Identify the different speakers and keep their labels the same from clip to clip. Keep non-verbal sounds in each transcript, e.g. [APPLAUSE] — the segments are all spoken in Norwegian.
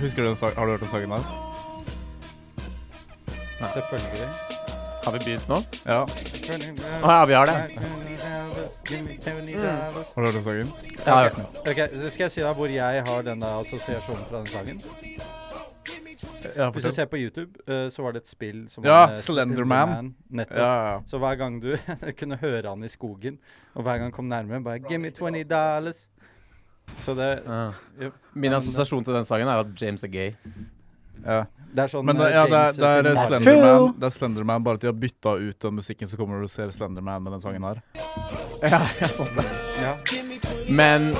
Speaker 1: Husker du den sangen? Har du hørt den sangen der?
Speaker 2: Selvfølgelig.
Speaker 3: Har vi begynt nå?
Speaker 1: Ja.
Speaker 3: Å ja, vi har det.
Speaker 1: Har du hørt den sangen?
Speaker 3: Jeg har hørt den.
Speaker 2: Mm. Ok, Skal jeg si deg hvor jeg har den der assosiasjonen fra den sangen?
Speaker 1: Ja,
Speaker 2: Hvis du ser på YouTube, eh, så var det et spill som
Speaker 1: Ja,
Speaker 2: eh,
Speaker 1: Slenderman.
Speaker 2: Nettopp.
Speaker 1: Ja, ja.
Speaker 2: Så hver gang du [LAUGHS] kunne høre han i skogen, og hver gang han kom nærmere, bare Give me 20 dollars. Så det,
Speaker 3: Ja. Min assosiasjon til den sangen er at James er gay.
Speaker 1: ja.
Speaker 2: det er sånn
Speaker 1: Men
Speaker 2: eh,
Speaker 1: ja, det er,
Speaker 2: James
Speaker 1: det er
Speaker 2: sin-
Speaker 1: Slenderman, det er Slenderman bare at de har bytta ut den musikken, så kommer du og ser Slenderman med den sangen her.
Speaker 3: [LAUGHS] Ja, ja, sant det.
Speaker 2: Ja.
Speaker 3: Men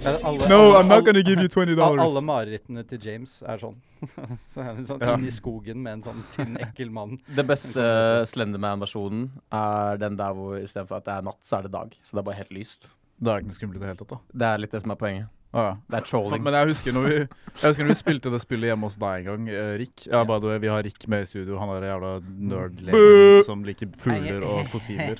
Speaker 2: Ja, alle,
Speaker 1: gonna give you 20
Speaker 2: Al- Alle marerittene til James er sånn. [LAUGHS] så er det sånn
Speaker 1: Ja.
Speaker 2: Inn i skogen med en sånn tynn, ekkel mann.
Speaker 3: den beste Slenderman-versjonen er den der hvor istedenfor at det er natt, så er det dag. Så det er bare helt lyst.
Speaker 1: Det er ikke noe skummelt i det hele tatt, da.
Speaker 3: Det er litt det som er poenget.
Speaker 1: Ah, ja.
Speaker 3: Det er trolling.
Speaker 1: Men jeg husker, når vi, jeg husker når vi spilte det spillet hjemme hos deg en gang, eh, Rick. Ja, by the way, vi har Rick med i studio. Han er en jævla nerd som liker fugler og fossiler.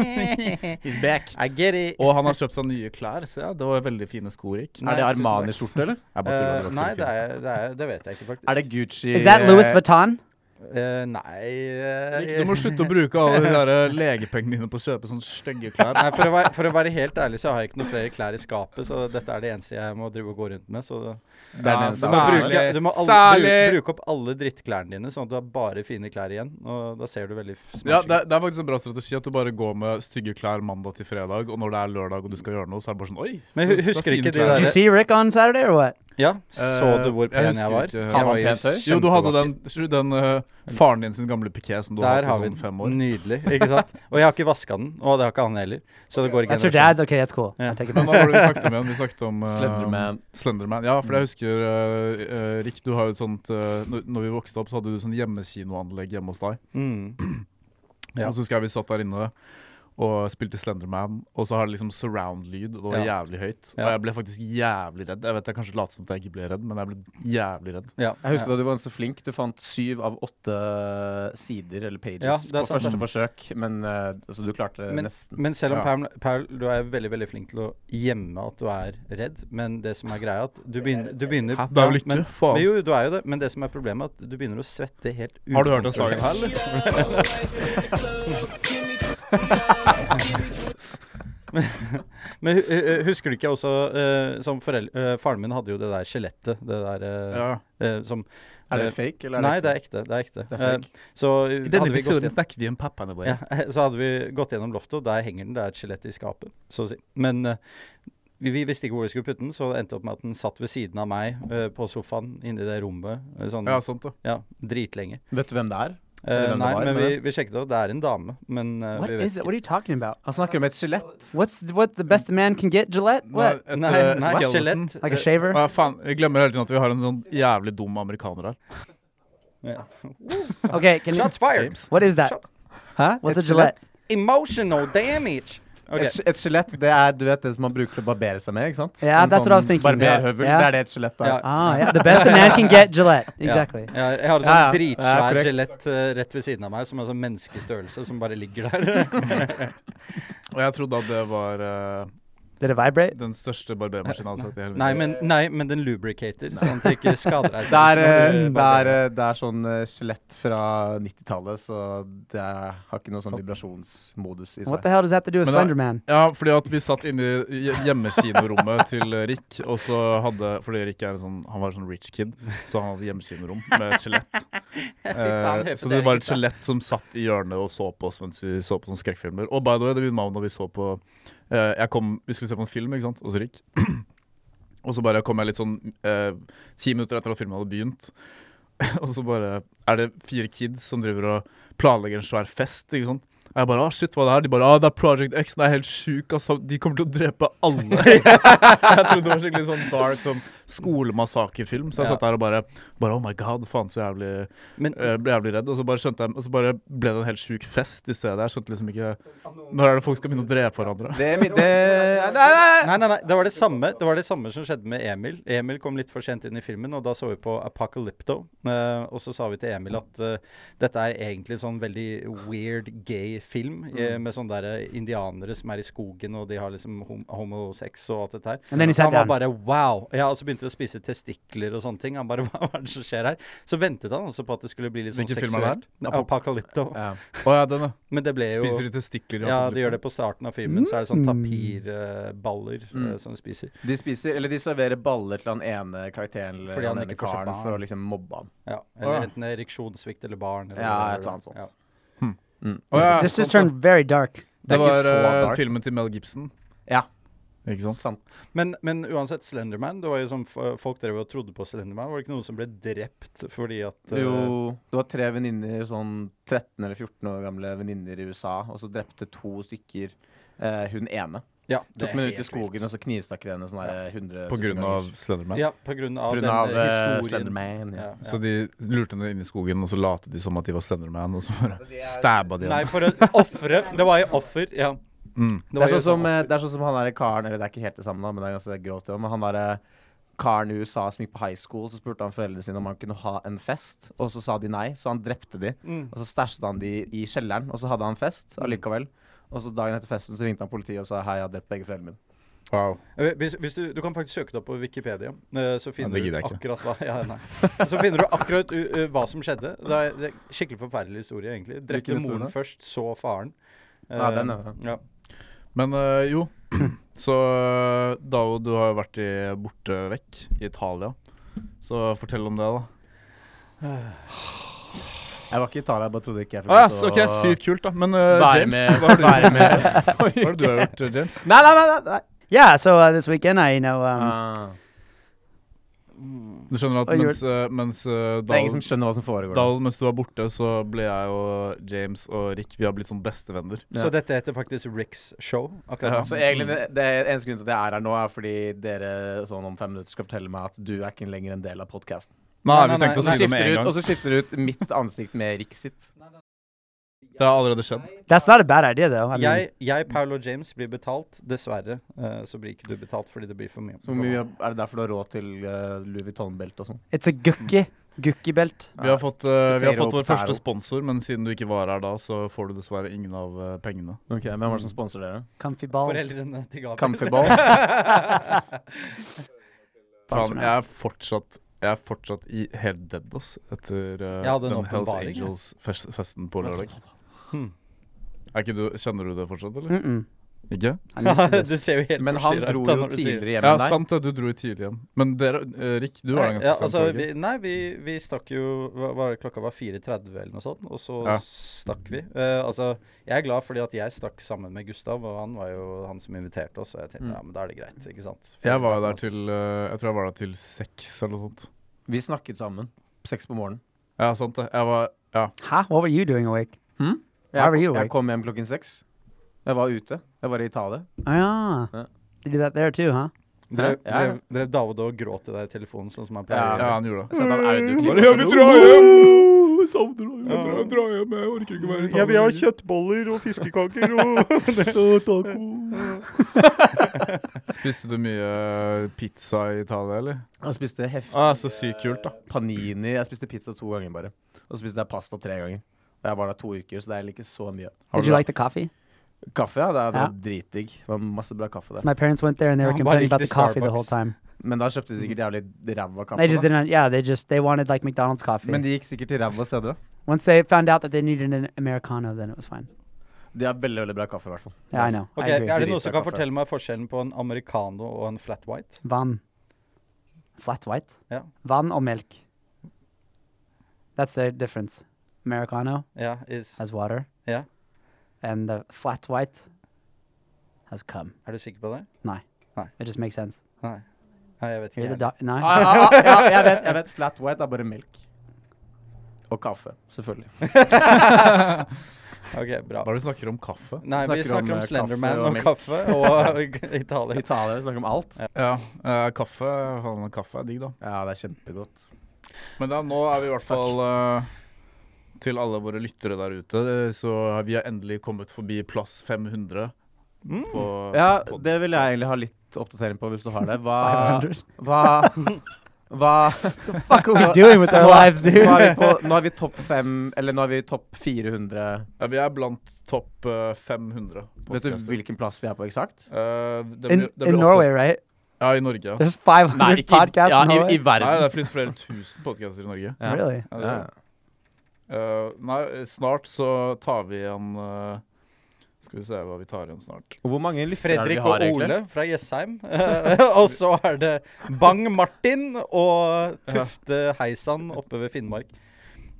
Speaker 3: He's back.
Speaker 2: I get it.
Speaker 1: Og han har kjøpt seg nye klær, ser jeg. Det var veldig fine sko, Rick.
Speaker 3: Er det Armani-skjorte, eller?
Speaker 1: Jeg bare tuller, det var
Speaker 2: Eh,
Speaker 1: ikke så
Speaker 2: nei,
Speaker 1: fint.
Speaker 2: det, er, det, er, det vet jeg ikke, faktisk.
Speaker 3: Er det Gucci
Speaker 4: Is that Louis Vuitton?
Speaker 2: Eh, nei eh,
Speaker 1: Rick, du må slutte å bruke alle de der eh, legepengene dine på å kjøpe sånne stygge klær.
Speaker 2: Nei, for å, være, for å være helt ærlig, så har jeg ikke noen flere klær i skapet, så dette er det eneste jeg må drive og gå rundt med. Så det-
Speaker 3: Det er den eneste.
Speaker 2: du må, bruke, du må alle,
Speaker 1: Særlig.
Speaker 2: bruke, bruke opp alle drittklærne dine, sånn at du har bare fine klær igjen. Og da ser du veldig
Speaker 1: [LAUGHS]
Speaker 2: smashing
Speaker 1: Ja, det, er- det er faktisk en bra strategi at du bare går med stygge klær mandag til fredag, og når det er lørdag og du skal gjøre noe, så er det bare sånn Oi!
Speaker 2: Men hu- husker
Speaker 1: det er fine
Speaker 2: ikke de
Speaker 1: klær.
Speaker 4: Did you
Speaker 2: der-
Speaker 4: see Rick on Saturday or what?
Speaker 2: Ja, så du hvor
Speaker 1: Eh, jeg
Speaker 2: pen jeg,
Speaker 1: husker
Speaker 2: var?
Speaker 1: ikke.
Speaker 2: Jeg
Speaker 1: Har
Speaker 3: han
Speaker 2: var jo
Speaker 3: pent hår?
Speaker 1: Jo, du hadde den, den eh, faren din sin gamle piké som du har
Speaker 2: Der har
Speaker 1: hatt i
Speaker 2: vi
Speaker 1: sånn fem år.
Speaker 2: den. Nydelig. Ikke sant? Og jeg har ikke vaska den. Og det har ikke han heller. Så det går i
Speaker 4: That's your
Speaker 2: generasjoner.
Speaker 4: dad's? Okay, that's cool.
Speaker 2: Yeah.
Speaker 4: I'll take it
Speaker 1: Men
Speaker 4: back.
Speaker 1: hva
Speaker 2: [LAUGHS]
Speaker 1: var det vi snakket om igjen? Vi snakket om eh,
Speaker 3: Slenderman.
Speaker 1: Slenderman. Ja, for jeg husker eh, eh, Rick, du har jo et sånt eh, når- Når vi vokste opp, så hadde du sånn hjemmekinoanlegg hjemme hos deg.
Speaker 2: Mm. [CLEARS THROAT] Ja.
Speaker 1: Og så husker jeg vi satt der inne og spilte Slenderman, og så har det liksom surround-lyd, og det var
Speaker 2: Ja.
Speaker 1: jævlig høyt. Og
Speaker 2: Ja.
Speaker 1: jeg ble faktisk jævlig redd. Jeg vet jeg kanskje later som at jeg ikke ble redd, men jeg ble jævlig redd.
Speaker 2: Ja.
Speaker 3: Jeg husker
Speaker 2: ja.
Speaker 3: da du var så flink. Du fant syv av åtte sider eller pages
Speaker 2: Ja, det er
Speaker 3: på
Speaker 2: sant,
Speaker 3: første
Speaker 2: det.
Speaker 3: forsøk, men eh, altså, du klarte det
Speaker 2: Men,
Speaker 3: nesten.
Speaker 2: men selv om
Speaker 1: Ja.
Speaker 2: Paul, Paul, du er veldig veldig flink til å gjemme at du er redd, men det som er greia, er at du begynner, du begynner
Speaker 1: Hæ? Du er vel ikke
Speaker 2: men,
Speaker 1: faen.
Speaker 2: men, Jo, du er jo det, men det som er problemet, er at du begynner å svette helt
Speaker 1: Har du hørt den
Speaker 2: [LAUGHS]
Speaker 1: sangen her, eller?
Speaker 2: Men hu- hu- husker du ikke også eh, som forel eh, Faren min hadde jo det der skjelettet, det der eh,
Speaker 1: Ja.
Speaker 2: eh, som
Speaker 3: er det
Speaker 2: eh,
Speaker 3: fake, eller er det
Speaker 2: Nei, det er ekte. Det er ekte.
Speaker 3: Det er fake.
Speaker 2: Eh, så
Speaker 1: I
Speaker 2: hadde
Speaker 1: denne
Speaker 2: vi gått
Speaker 1: episoden snakker vi om pappaene våre.
Speaker 2: Ja, [LAUGHS] så hadde vi gått gjennom loftet, og der henger den. Det er et skjelett i skapet, så å si. Men eh, vi, vi visste ikke hvor vi skulle putte den, så det endte opp med at den satt ved siden av meg eh, på sofaen inne i det rommet eh, sånn,
Speaker 1: Ja,
Speaker 2: ja.
Speaker 1: sant det.
Speaker 2: dritlenge.
Speaker 3: Vet du hvem det er?
Speaker 2: Eh,
Speaker 3: Eller hvem det
Speaker 2: nei,
Speaker 3: var,
Speaker 2: men vi,
Speaker 3: men-
Speaker 2: vi sjekket det, og det er en dame, men eh,
Speaker 4: What
Speaker 2: vi
Speaker 4: is
Speaker 2: vet
Speaker 4: it? What are you talking about?
Speaker 3: Han snakker om et skjelett.
Speaker 4: What's what the best a man can get? Gillette? What?
Speaker 1: Et,
Speaker 2: Nei,
Speaker 1: eh,
Speaker 2: nei,
Speaker 1: skeleton.
Speaker 2: skjelett.
Speaker 4: Like a
Speaker 2: eh,
Speaker 4: shaver?
Speaker 1: Å, ja, faen, vi glemmer hele tiden at vi har en sånn jævlig dum amerikaner her.
Speaker 2: ja.
Speaker 4: Okay, can
Speaker 2: [LAUGHS]
Speaker 4: you?
Speaker 2: Shots fired!
Speaker 1: James.
Speaker 4: What is that?
Speaker 3: Hæ?
Speaker 4: What's a Gillette?
Speaker 2: Emotional
Speaker 3: [LAUGHS]
Speaker 2: damage! Ok,
Speaker 3: Et sk- Et skjelett, det er du vet, det som man bruker til å barbere seg med, ikke sant?
Speaker 4: Ja,
Speaker 3: En sånn
Speaker 4: that's what I was thinking.
Speaker 3: Barberhøvel,
Speaker 4: Ja.
Speaker 3: det er det et skjelett er.
Speaker 2: Ja.
Speaker 4: Ah, yeah. The best a man can get. [LAUGHS] Gillette. Exactly.
Speaker 2: Ja, jeg
Speaker 3: Ja, ja.
Speaker 2: har et sånt
Speaker 3: Det er
Speaker 2: dritsvær
Speaker 3: korrekt.
Speaker 2: skjelett eh, rett ved siden av meg, som er sånn menneskestørrelse, som bare ligger
Speaker 3: [LAUGHS]
Speaker 2: der.
Speaker 1: Og jeg trodde at det var eh,
Speaker 4: Did it vibrate?
Speaker 1: den største barbermaskinen jeg hadde sett i hele mitt
Speaker 2: nei,
Speaker 1: liv.
Speaker 2: men, nei, men den lubricater, sånn at det ikke skader deg.
Speaker 3: Det er, eh,
Speaker 2: Når du
Speaker 3: det
Speaker 2: barberer.
Speaker 3: er, eh, det er sånn eh, skjelett fra 90-tallet, så det er- har ikke noe sånn vibrasjonsmodus i
Speaker 4: What
Speaker 3: seg.
Speaker 4: the hell does that have to do
Speaker 1: Men
Speaker 4: with
Speaker 1: da-
Speaker 4: Slender Man?
Speaker 1: Ja, fordi at vi satt inne i hje- hjemmekinorommet [LAUGHS] til eh, Rick, og så hadde Fordi Rick er en sånn Han var en sånn rich kid, så han hadde hjemmekinorom med et
Speaker 2: [LAUGHS]
Speaker 1: skjelett. Eh,
Speaker 2: faen, hør på
Speaker 1: så
Speaker 2: dere
Speaker 1: det var et
Speaker 2: gutta.
Speaker 1: skjelett som satt i hjørnet og så på oss mens vi så på sånne skrekkfilmer. Og by the way, det begynte meg om når vi så på eh, Jeg kom Vi skulle se på en film, ikke sant, hos Rick. [CLEARS THROAT] Og så bare kom jeg litt sånn eh, ti minutter etter at filmen hadde begynt. [LAUGHS] og så bare er det fire kids som driver og planlegger en svær fest. ikke sant? Og jeg bare ah, shit, hva er det her? De bare ah, det er Project X, det er helt sjuk, altså. De kommer til å drepe
Speaker 2: [LAUGHS]
Speaker 1: alle. jeg trodde det var skikkelig sånn dark sånn skolemassakrefilm. Så jeg
Speaker 2: Ja.
Speaker 1: satt der og bare, bare oh my god, faen så jævlig
Speaker 2: Men-
Speaker 1: eh, Ble jævlig redd. Og så bare skjønte jeg Og så bare ble det en helt sjuk fest i stedet. Jeg skjønte liksom ikke Når er det folk skal begynne å drepe hverandre?
Speaker 4: [LAUGHS]
Speaker 3: Det, er mi- det, nei, nei, nei,
Speaker 2: Nei, nei, nei, det var det samme Det var det samme som skjedde med Emil. Emil kom litt for sent inn i filmen, og da så vi på Apocalypto. eh, og så sa vi til Emil at eh, dette er egentlig sånn veldig weird gay film,
Speaker 1: Mm.
Speaker 2: eh, med sånne derre indianere som er i skogen, og de har liksom hom homosex og alt dette her.
Speaker 4: And then he
Speaker 2: Så
Speaker 4: sat
Speaker 2: han var
Speaker 4: down.
Speaker 2: bare wow. Ja, og så begynte de å spise testikler og sånne ting. Han bare [LAUGHS] hva er det som skjer her? Så ventet han også på at det skulle bli litt sånn
Speaker 1: Hvilken film er
Speaker 2: seksuelt.
Speaker 1: det
Speaker 2: Apocalypto.
Speaker 3: Ja.
Speaker 1: Å ja, den, ja.
Speaker 2: Men det ble jo
Speaker 1: Spiser de testikler? i Mm.
Speaker 2: ja,
Speaker 1: Apocalypse?
Speaker 2: de gjør det på starten av filmen. Så er det sånn tapirballer eh,
Speaker 1: Mm.
Speaker 2: som de spiser.
Speaker 3: De spiser, eller de serverer baller til han ene karakteren eller
Speaker 2: Fordi han
Speaker 3: han ene
Speaker 2: ikke får seg
Speaker 3: karen
Speaker 2: barn.
Speaker 3: for å liksom mobbe han.
Speaker 2: Ja, eller
Speaker 1: Åja.
Speaker 2: enten ereksjonssvikt eller barn. Eller
Speaker 3: Ja,
Speaker 2: whatever.
Speaker 3: et eller annet sånt.
Speaker 2: Ja.
Speaker 3: Mm.
Speaker 1: Å ja,
Speaker 4: This just
Speaker 1: sant
Speaker 4: turned very dark.
Speaker 1: Det
Speaker 3: Det er ikke
Speaker 1: var
Speaker 3: så
Speaker 1: eh,
Speaker 3: dark.
Speaker 1: filmen til Mel Gibson,
Speaker 3: Ja,
Speaker 1: ikke sant?
Speaker 3: sant.
Speaker 2: Men, men uansett, Slenderman Det var jo sånn f- folk drev og trodde på Slenderman. Var det ikke noen som ble drept fordi at eh,
Speaker 3: Jo, det var tre venninner, sånn 13 eller 14 år gamle venninner i USA, og så drepte to stykker eh, hun ene.
Speaker 2: ja, det
Speaker 3: Tok
Speaker 2: er
Speaker 3: henne ut i
Speaker 2: helt
Speaker 3: skogen,
Speaker 2: vilt.
Speaker 3: og så knivstakk de henne sånn der 100
Speaker 1: På
Speaker 3: 000
Speaker 1: grunn av
Speaker 3: ganger.
Speaker 1: Slenderman.
Speaker 2: Ja, på grunn av,
Speaker 3: På grunn
Speaker 2: den
Speaker 3: av
Speaker 2: eh,
Speaker 3: eh,
Speaker 2: historien.
Speaker 3: Slenderman. Ja.
Speaker 2: Ja, ja.
Speaker 1: Så de lurte henne inn i skogen, og så latet de som at de var Slenderman, og så bare
Speaker 3: Altså,
Speaker 1: stabba de
Speaker 2: Nei,
Speaker 1: henne.
Speaker 2: for å ofre Det var jo offer, ja.
Speaker 1: Mm.
Speaker 2: Det
Speaker 3: Det,
Speaker 2: var
Speaker 3: er
Speaker 2: jo
Speaker 3: sånn som,
Speaker 2: sånn
Speaker 3: eh,
Speaker 2: offer.
Speaker 3: det er sånn som han der karen Eller det er ikke helt det samme, da, men det er ganske grovt. jo, Men han der eh, karen i USA som gikk på high school, så spurte han foreldrene sine om han kunne ha en fest, og så sa de nei, så han drepte de.
Speaker 2: Mm.
Speaker 3: Og så stæsjet han de i kjelleren, og så hadde han fest allikevel. Og så dagen etter festen så ringte han politiet og sa hei, jeg har drept begge foreldrene mine.
Speaker 1: Wow.
Speaker 2: Eh, Hvis, hvis du, du kan faktisk søke det opp på Wikipedia, eh, så finner
Speaker 1: det
Speaker 2: du
Speaker 1: gidder
Speaker 2: ut
Speaker 1: jeg
Speaker 2: akkurat hva ja, nei. Så finner du akkurat u, eh, hva som skjedde. Det er, det er Skikkelig forferdelig historie, egentlig. Drepte
Speaker 3: Hvilken historie
Speaker 2: moren
Speaker 3: da?
Speaker 2: først, så faren.
Speaker 3: Ja,
Speaker 2: Eh,
Speaker 3: den, ja.
Speaker 2: ja.
Speaker 1: Men eh, jo, [CLEARS THROAT] så eh, Dao, du har jo vært i, borte vekk i Italia. Så fortell om det, da.
Speaker 3: Jeg var ikke i Italia, jeg bare trodde ikke jeg
Speaker 1: Ah, ja,
Speaker 3: lov
Speaker 1: så,
Speaker 3: til
Speaker 1: ok,
Speaker 3: å
Speaker 1: Sykt kult, da. Men eh,
Speaker 3: være
Speaker 1: James,
Speaker 3: med,
Speaker 1: hva har du,
Speaker 3: være
Speaker 1: [LAUGHS] hva
Speaker 3: med.
Speaker 1: har du har gjort, eh, James?
Speaker 3: Nei, nei, nei! nei.
Speaker 4: Yeah, so uh, this weekend I, you know, um,
Speaker 3: Ah.
Speaker 1: Du skjønner at
Speaker 4: Hva gjør-
Speaker 1: mens, eh, mens eh,
Speaker 3: det er ingen som
Speaker 1: Dao,
Speaker 3: skjønner hva som foregår.
Speaker 1: Dao, mens du var borte, så ble jeg og James og Rick Vi har blitt sånn bestevenner.
Speaker 3: Ja.
Speaker 2: Så dette heter faktisk Ricks show.
Speaker 1: Ja.
Speaker 2: akkurat
Speaker 3: Så
Speaker 2: nå.
Speaker 3: egentlig det, det er eneste grunnen til at jeg er her nå, er fordi dere sånn om fem minutter skal fortelle meg at du er ikke lenger en del av podkasten.
Speaker 1: Nei,
Speaker 2: nei,
Speaker 1: vi tenkte
Speaker 2: nei,
Speaker 1: å
Speaker 3: Og så
Speaker 1: si det med
Speaker 3: skifter
Speaker 1: en
Speaker 3: ut-
Speaker 1: gang.
Speaker 3: og så skifter du ut mitt ansikt med Rick sitt.
Speaker 1: Det har allerede skjedd.
Speaker 4: that's not a bad idea, though. I mean,
Speaker 2: Jeg, jeg, Paul og James blir betalt. Dessverre eh, så blir ikke du betalt fordi det blir for mye.
Speaker 3: Så hvor mye er det derfor du har råd til eh, Louis Vuitton-belte og sånn?
Speaker 4: it's a gukki, gukki belt.
Speaker 1: Vi har fått, eh, vi har
Speaker 3: Potato,
Speaker 1: fått vår
Speaker 3: potato.
Speaker 1: første sponsor, men siden du ikke var her da, så får du dessverre ingen av eh,
Speaker 2: [LAUGHS]
Speaker 1: pengene.
Speaker 3: Ok, Hvem er det som sponser dere?
Speaker 4: Comfy balls.
Speaker 2: Foreldrene til Gabriel. [LAUGHS]
Speaker 3: Comfy
Speaker 1: [LAUGHS]
Speaker 3: Balls?
Speaker 1: Faen, jeg er fortsatt jeg er fortsatt i helt dead, ass, etter eh,
Speaker 2: Jeg hadde en
Speaker 1: den Hells
Speaker 2: åpenbaring, jeg.
Speaker 1: Angels-festen på lørdag.
Speaker 2: Hmm.
Speaker 1: Er ikke du, kjenner du det fortsatt, eller?
Speaker 4: Mm-mm.
Speaker 1: Ikke?
Speaker 4: I'm used to
Speaker 2: du
Speaker 4: this.
Speaker 2: ser jo helt
Speaker 3: Men han
Speaker 2: forstyrret
Speaker 3: dro
Speaker 2: ut da
Speaker 3: jo
Speaker 2: når du sier det.
Speaker 3: tidligere hjem
Speaker 1: Ja,
Speaker 3: enn deg.
Speaker 1: sant det, du dro jo tidlig hjem. Men dere, eh, Rick, du var der ganske
Speaker 2: ja,
Speaker 1: sent.
Speaker 2: altså,
Speaker 1: var du
Speaker 2: vi,
Speaker 1: ikke?
Speaker 2: nei, vi, vi stakk jo hva, var det, Klokka var 4.30 eller noe sånt, og så
Speaker 1: Ja.
Speaker 2: stakk vi. Eh, altså, jeg er glad fordi at jeg stakk sammen med Gustav, og han var jo han som inviterte oss. Og jeg tenkte
Speaker 3: Mm.
Speaker 2: ja, men da er det greit, ikke sant.
Speaker 1: Jeg var jo der til eh, Jeg tror jeg var der til seks eller noe sånt.
Speaker 3: Vi snakket sammen. Seks på morgenen.
Speaker 1: Ja, sant det. Jeg var Ja.
Speaker 4: Huh? What were you doing awake?
Speaker 3: Hm?
Speaker 4: Why were
Speaker 3: Jeg,
Speaker 4: you
Speaker 3: jeg
Speaker 4: awake?
Speaker 3: kom hjem klokken seks. Jeg var ute. Jeg var i Italia.
Speaker 4: Ah,
Speaker 3: Ja.
Speaker 4: you do that there too, huh?
Speaker 2: Drev,
Speaker 3: Ja, ja.
Speaker 2: drev, drev David og gråt til deg i telefonen, sånn som han
Speaker 3: Ja,
Speaker 2: pleier?
Speaker 1: ja, han gjorde det.
Speaker 3: Jeg sendte han
Speaker 1: Bare, jeg vil
Speaker 3: audioklipp.
Speaker 1: dra hjem! Jeg savner deg. Jeg drar-
Speaker 2: Ja.
Speaker 1: jeg drar hjem. Jeg orker ikke å være i
Speaker 2: Jeg vil ha
Speaker 1: Italia.
Speaker 2: kjøttboller og fiskekaker og
Speaker 1: Spiste du mye eh, pizza i Italia, eller?
Speaker 3: Jeg spiste heftig
Speaker 1: Ah, så sykt kult, da.
Speaker 3: panini. Jeg spiste pizza to ganger bare. Og så spiste jeg pasta tre ganger. Og jeg var der to uker, så det er egentlig ikke så mye.
Speaker 1: Har
Speaker 4: Did
Speaker 1: du
Speaker 4: you
Speaker 1: det?
Speaker 4: like the coffee?
Speaker 3: Kaffe, ja. Det er- det var
Speaker 4: Ja.
Speaker 3: dritdigg. Det var masse bra kaffe der.
Speaker 4: My parents went there and they were
Speaker 2: Yeah, but
Speaker 4: complaining
Speaker 2: like
Speaker 4: about
Speaker 2: the
Speaker 4: the coffee the whole
Speaker 2: Starbucks.
Speaker 4: time.
Speaker 3: Men da kjøpte de sikkert jævlig ræva kaffe.
Speaker 4: They just
Speaker 3: da.
Speaker 4: didn't. Yeah, they just they wanted like McDonald's coffee.
Speaker 3: Men de gikk sikkert til ræva steder, da.
Speaker 4: Once they found out that they needed an americano, then it was fine.
Speaker 3: De har veldig, veldig bra kaffe, i hvert fall.
Speaker 4: Yeah, I know.
Speaker 2: Ok,
Speaker 4: I agree.
Speaker 2: Er det
Speaker 3: Dritbra
Speaker 2: noen som kan
Speaker 3: kaffe.
Speaker 2: fortelle meg forskjellen på en americano og en flat white?
Speaker 4: Van. Flat white.
Speaker 2: Ja.
Speaker 4: Van or milk. That's the difference. Americano
Speaker 2: Ja, is,
Speaker 4: has water,
Speaker 2: ja.
Speaker 4: and the flat white has cum.
Speaker 2: Er du sikker på det?
Speaker 4: It just makes sense.
Speaker 2: Nei. Nei, jeg vet
Speaker 4: You're
Speaker 2: ikke.
Speaker 4: the
Speaker 2: heller.
Speaker 4: doc-
Speaker 3: [LAUGHS]
Speaker 4: no? [LAUGHS]
Speaker 3: Ah, ah, ah, ja, jeg, vet, jeg vet. Flat white er bare melk. Og kaffe, selvfølgelig.
Speaker 2: Ok, bra.
Speaker 1: Hva er det du snakker om kaffe?
Speaker 2: Nei, vi
Speaker 3: snakker om,
Speaker 2: snakker om,
Speaker 3: eh, kaffe
Speaker 2: Slenderman
Speaker 3: og
Speaker 2: og
Speaker 3: melk.
Speaker 2: kaffe
Speaker 3: [LAUGHS]
Speaker 2: og [LAUGHS] Italia.
Speaker 3: Italia, vi snakker om alt.
Speaker 2: Ja.
Speaker 1: Ja, eh, kaffe faen, Kaffe er digg, da.
Speaker 3: Ja, det er kjempegodt.
Speaker 1: Men da, nå er vi i hvert fall eh, Til alle våre lyttere der ute, eh, så har vi endelig kommet forbi plass 500. på
Speaker 3: Ja,
Speaker 1: pod-
Speaker 3: det vil jeg egentlig ha litt oppdatering på, hvis du har det. Hva
Speaker 4: 500.
Speaker 3: Hva Hva
Speaker 4: Fuck
Speaker 3: Så-
Speaker 4: are we doing with
Speaker 3: så
Speaker 4: [LAUGHS] our
Speaker 3: nå-
Speaker 4: lives,
Speaker 3: så Nå er vi,
Speaker 4: dude?
Speaker 3: på, nå er vi topp fem, eller nå er vi topp 400
Speaker 1: ja, Vi er blant topp eh, 500
Speaker 3: Vet du
Speaker 1: podcaster.
Speaker 3: hvilken plass vi er på eksakt?
Speaker 1: Eh, det
Speaker 4: In,
Speaker 1: blir- det
Speaker 4: in
Speaker 1: blir
Speaker 4: Norway,
Speaker 1: opptatt-
Speaker 4: right?
Speaker 1: Ja, i Norge. Ja.
Speaker 4: There's 500 podcasts
Speaker 3: ja,
Speaker 4: in
Speaker 3: i, i
Speaker 4: Norway?
Speaker 3: verden.
Speaker 1: Nei, det finnes flere tusen podkaster i Norge.
Speaker 3: Ja.
Speaker 4: Really?
Speaker 1: Ja, det,
Speaker 3: Ja.
Speaker 1: Eh, nei, snart så tar vi igjen eh, Skal vi se hva vi tar igjen snart.
Speaker 3: Og Hvor mange lyttere er det
Speaker 2: Fredrik
Speaker 3: vi har,
Speaker 2: og
Speaker 3: egentlig?
Speaker 2: Ole fra Jessheim. [LAUGHS] og så er det Bang Martin og Tufte Heisan oppe ved Finnmark.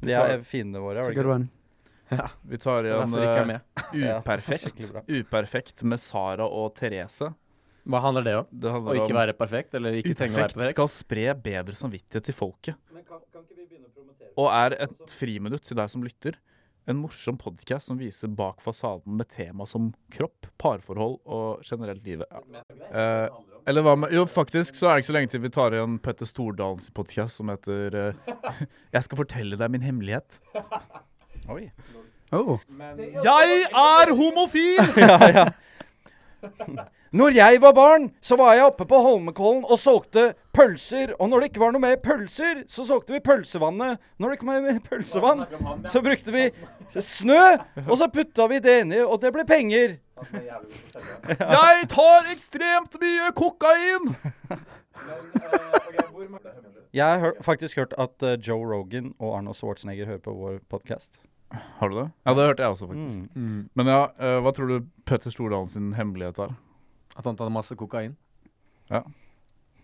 Speaker 2: De er fiendene våre.
Speaker 4: It's
Speaker 2: er
Speaker 4: a
Speaker 2: det
Speaker 4: good
Speaker 2: ikke?
Speaker 4: one.
Speaker 1: Vi tar
Speaker 3: Det er
Speaker 1: igjen
Speaker 3: Derfor de ikke er
Speaker 1: eh,
Speaker 3: med.
Speaker 2: Ja,
Speaker 1: Uperfekt.
Speaker 2: skikkelig bra.
Speaker 1: Uperfekt med Sara og Therese.
Speaker 3: Hva handler det om?
Speaker 1: Det
Speaker 3: Å
Speaker 1: handler
Speaker 3: ikke
Speaker 1: om
Speaker 3: være perfekt? Eller ikke trenge å være
Speaker 1: Uperfekt
Speaker 3: perfekt?
Speaker 1: skal spre bedre samvittighet til folket. Og er et friminutt til deg som lytter. En morsom podkast som viser bak fasaden med tema som kropp, parforhold og generelt livet. Ja. Eh, eller hva med Jo, faktisk så er det ikke så lenge til vi tar igjen Petter Stordalens podkast som heter eh, [LAUGHS] 'Jeg skal fortelle deg min hemmelighet'.
Speaker 2: Oi.
Speaker 4: Oh.
Speaker 1: Jeg er homofil! [LAUGHS]
Speaker 2: Når jeg var barn, så var jeg oppe på Holmenkollen og solgte pølser. Og når det ikke var noe mer pølser, så solgte vi pølsevannet. Når det ikke var mer pølsevann, så brukte vi snø, og så putta vi det inni, og det ble penger.
Speaker 1: Jeg tar ekstremt mye kokain!
Speaker 2: Jeg har hør- faktisk hørt at eh, Joe Rogan og Arnold Schwarzenegger hører på vår podkast.
Speaker 1: Har du det? Ja, det hørte jeg også, faktisk.
Speaker 3: Mm.
Speaker 1: Men ja, eh, hva tror du Petter Stordalen sin hemmelighet er?
Speaker 3: At han tar masse kokain?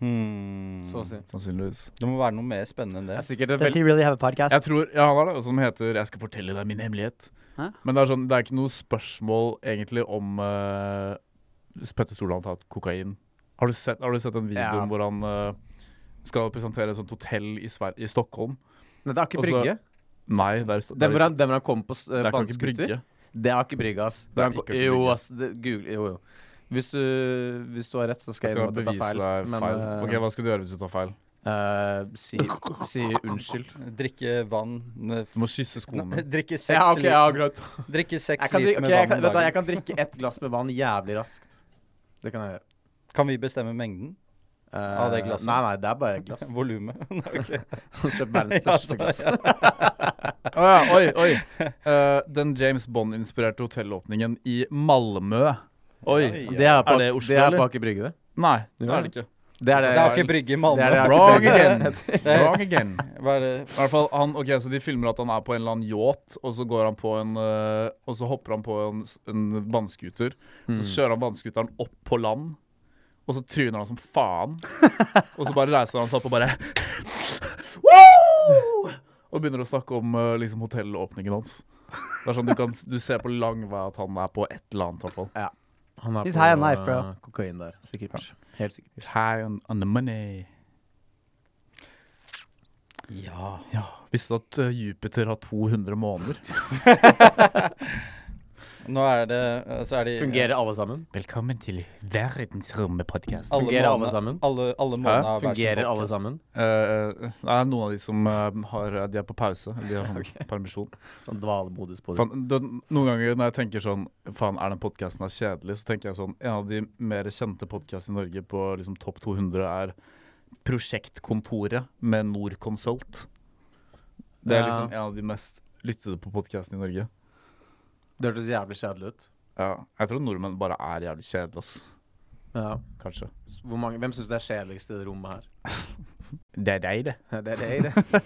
Speaker 2: Hmm.
Speaker 3: Så å si.
Speaker 1: Sannsynligvis.
Speaker 2: Det må være noe mer spennende enn
Speaker 3: Det er
Speaker 2: det.
Speaker 3: sikkert et
Speaker 4: Does
Speaker 3: veldig
Speaker 4: he really have a podcast?
Speaker 1: Jeg tror, ja, han har det, som heter 'Jeg skal fortelle deg min hemmelighet'.
Speaker 4: Hæ?
Speaker 1: Men det er, sånn, det er ikke noe spørsmål egentlig om eh, Petter Stordalen har tatt kokain. Har du sett, har du sett den videoen
Speaker 3: Ja.
Speaker 1: hvor han eh, skal presentere et sånt hotell i, Sver i Stockholm?
Speaker 3: Nei, det er ikke
Speaker 1: Og så-
Speaker 3: brygge.
Speaker 1: Nei, det er, i Sto- det
Speaker 3: Den
Speaker 1: er, i
Speaker 3: hvor
Speaker 1: Sto-
Speaker 3: han, den hvor han kom på s-
Speaker 1: det
Speaker 3: eh,
Speaker 1: er ikke
Speaker 3: vannskuter.
Speaker 1: brygge.
Speaker 3: Det er ikke brygge, ass.
Speaker 1: Det er
Speaker 3: Hvor han-
Speaker 1: ikke brygge.
Speaker 3: Jo, ass. Det, Google, jo, jo. Hvis du, hvis du har rett, så skal
Speaker 1: Jeg
Speaker 3: jeg
Speaker 1: skal
Speaker 3: innrømme at jeg
Speaker 1: bevise
Speaker 3: tar feil.
Speaker 1: deg
Speaker 3: men,
Speaker 1: feil.
Speaker 3: eh,
Speaker 1: Ok, Hva skal du gjøre hvis du tar feil?
Speaker 3: eh, si, si unnskyld.
Speaker 2: Drikke vann ne- [LAUGHS]
Speaker 1: Du må kysse skoene.
Speaker 2: Drikke
Speaker 3: [LAUGHS]
Speaker 2: seks
Speaker 3: Ja, ok, ja,
Speaker 2: liter-
Speaker 3: greit.
Speaker 2: drikke seks
Speaker 3: Jeg kan,
Speaker 2: liter
Speaker 3: drikke, ok,
Speaker 2: med
Speaker 3: jeg,
Speaker 2: vann
Speaker 3: kan, vet
Speaker 2: om
Speaker 3: du, hva,
Speaker 2: dagen.
Speaker 3: jeg kan drikke ett glass med vann jævlig raskt. Det kan jeg gjøre.
Speaker 2: Kan vi bestemme mengden? [LAUGHS]
Speaker 3: Eh,
Speaker 2: Av det glasset?
Speaker 3: Nei, nei, det er bare et
Speaker 2: [LAUGHS]
Speaker 3: glass.
Speaker 2: Volumet? Ok.
Speaker 3: Kjøp verdens største glass.
Speaker 1: Å ja, oi, oi. Eh, den James Bond-inspirerte hotellåpningen i Malmø. Oi.
Speaker 2: Oi.
Speaker 3: Det er, på,
Speaker 1: Er det Oslo,
Speaker 3: det er
Speaker 1: eller?
Speaker 3: på Aker Brygge, det.
Speaker 1: Nei,
Speaker 3: Ja.
Speaker 1: det er det ikke.
Speaker 3: Det er det.
Speaker 2: Det er ikke brygge i
Speaker 3: det er
Speaker 2: Malmö.
Speaker 3: det
Speaker 2: [LAUGHS]
Speaker 1: Wrong
Speaker 3: Aker Brygge
Speaker 1: again.
Speaker 3: heter.
Speaker 1: Wrong again.
Speaker 2: Hva er det?
Speaker 1: I hvert fall, han, ok, så De filmer at han er på en eller annen yacht, og så, går han på en, øh, og så hopper han på en, s- en vannskuter. Så kjører han vannskuteren opp på land, og så tryner han som faen. og så bare reiser han seg opp og bare [LAUGHS] Woo! Og begynner å snakke om øh, liksom, hotellåpningen hans. Det er sånn Du, kan, s- du ser på lang vei at han er på et eller annet, i hvert fall.
Speaker 3: Han er
Speaker 4: He's
Speaker 3: på,
Speaker 4: high on life, bro.
Speaker 3: eh, Kokain der, sikkert. Helt sikkert.
Speaker 1: He's high on, on the money.
Speaker 2: Ja.
Speaker 1: Ja, Visste du at øh, Jupiter har 200 måneder?
Speaker 2: Nå er det eh, Så er de
Speaker 3: Fungerer alle sammen?
Speaker 1: Velkommen til verdensrommepodkast.
Speaker 2: alle
Speaker 3: fungerer alle
Speaker 2: månedene-
Speaker 3: sammen?
Speaker 2: Alle, alle måneder har hver sin
Speaker 3: Fungerer alle
Speaker 2: podcast.
Speaker 3: sammen?
Speaker 1: Eh, det er noen av de som eh, har, de er på pause. De har sånn permisjon.
Speaker 3: Sånn dvalemodus på det.
Speaker 1: Fan, det, noen ganger når jeg tenker sånn Faen, er den podkasten kjedelig? Så tenker jeg sånn En av de mer kjente podkastene i Norge på liksom, topp 200 er Prosjektkontoret med Norconsult. Det er
Speaker 3: Ja.
Speaker 1: liksom en av de mest lyttede på podkastene i Norge.
Speaker 3: Det hørtes jævlig kjedelig ut.
Speaker 1: Ja, jeg tror nordmenn bare er jævlig kjedelige, ass.
Speaker 3: Ja.
Speaker 1: Kanskje.
Speaker 3: Hvor mange, hvem syns det er kjedeligst i det rommet her?
Speaker 1: Det er deg, det.
Speaker 3: [LAUGHS] Det er det, det.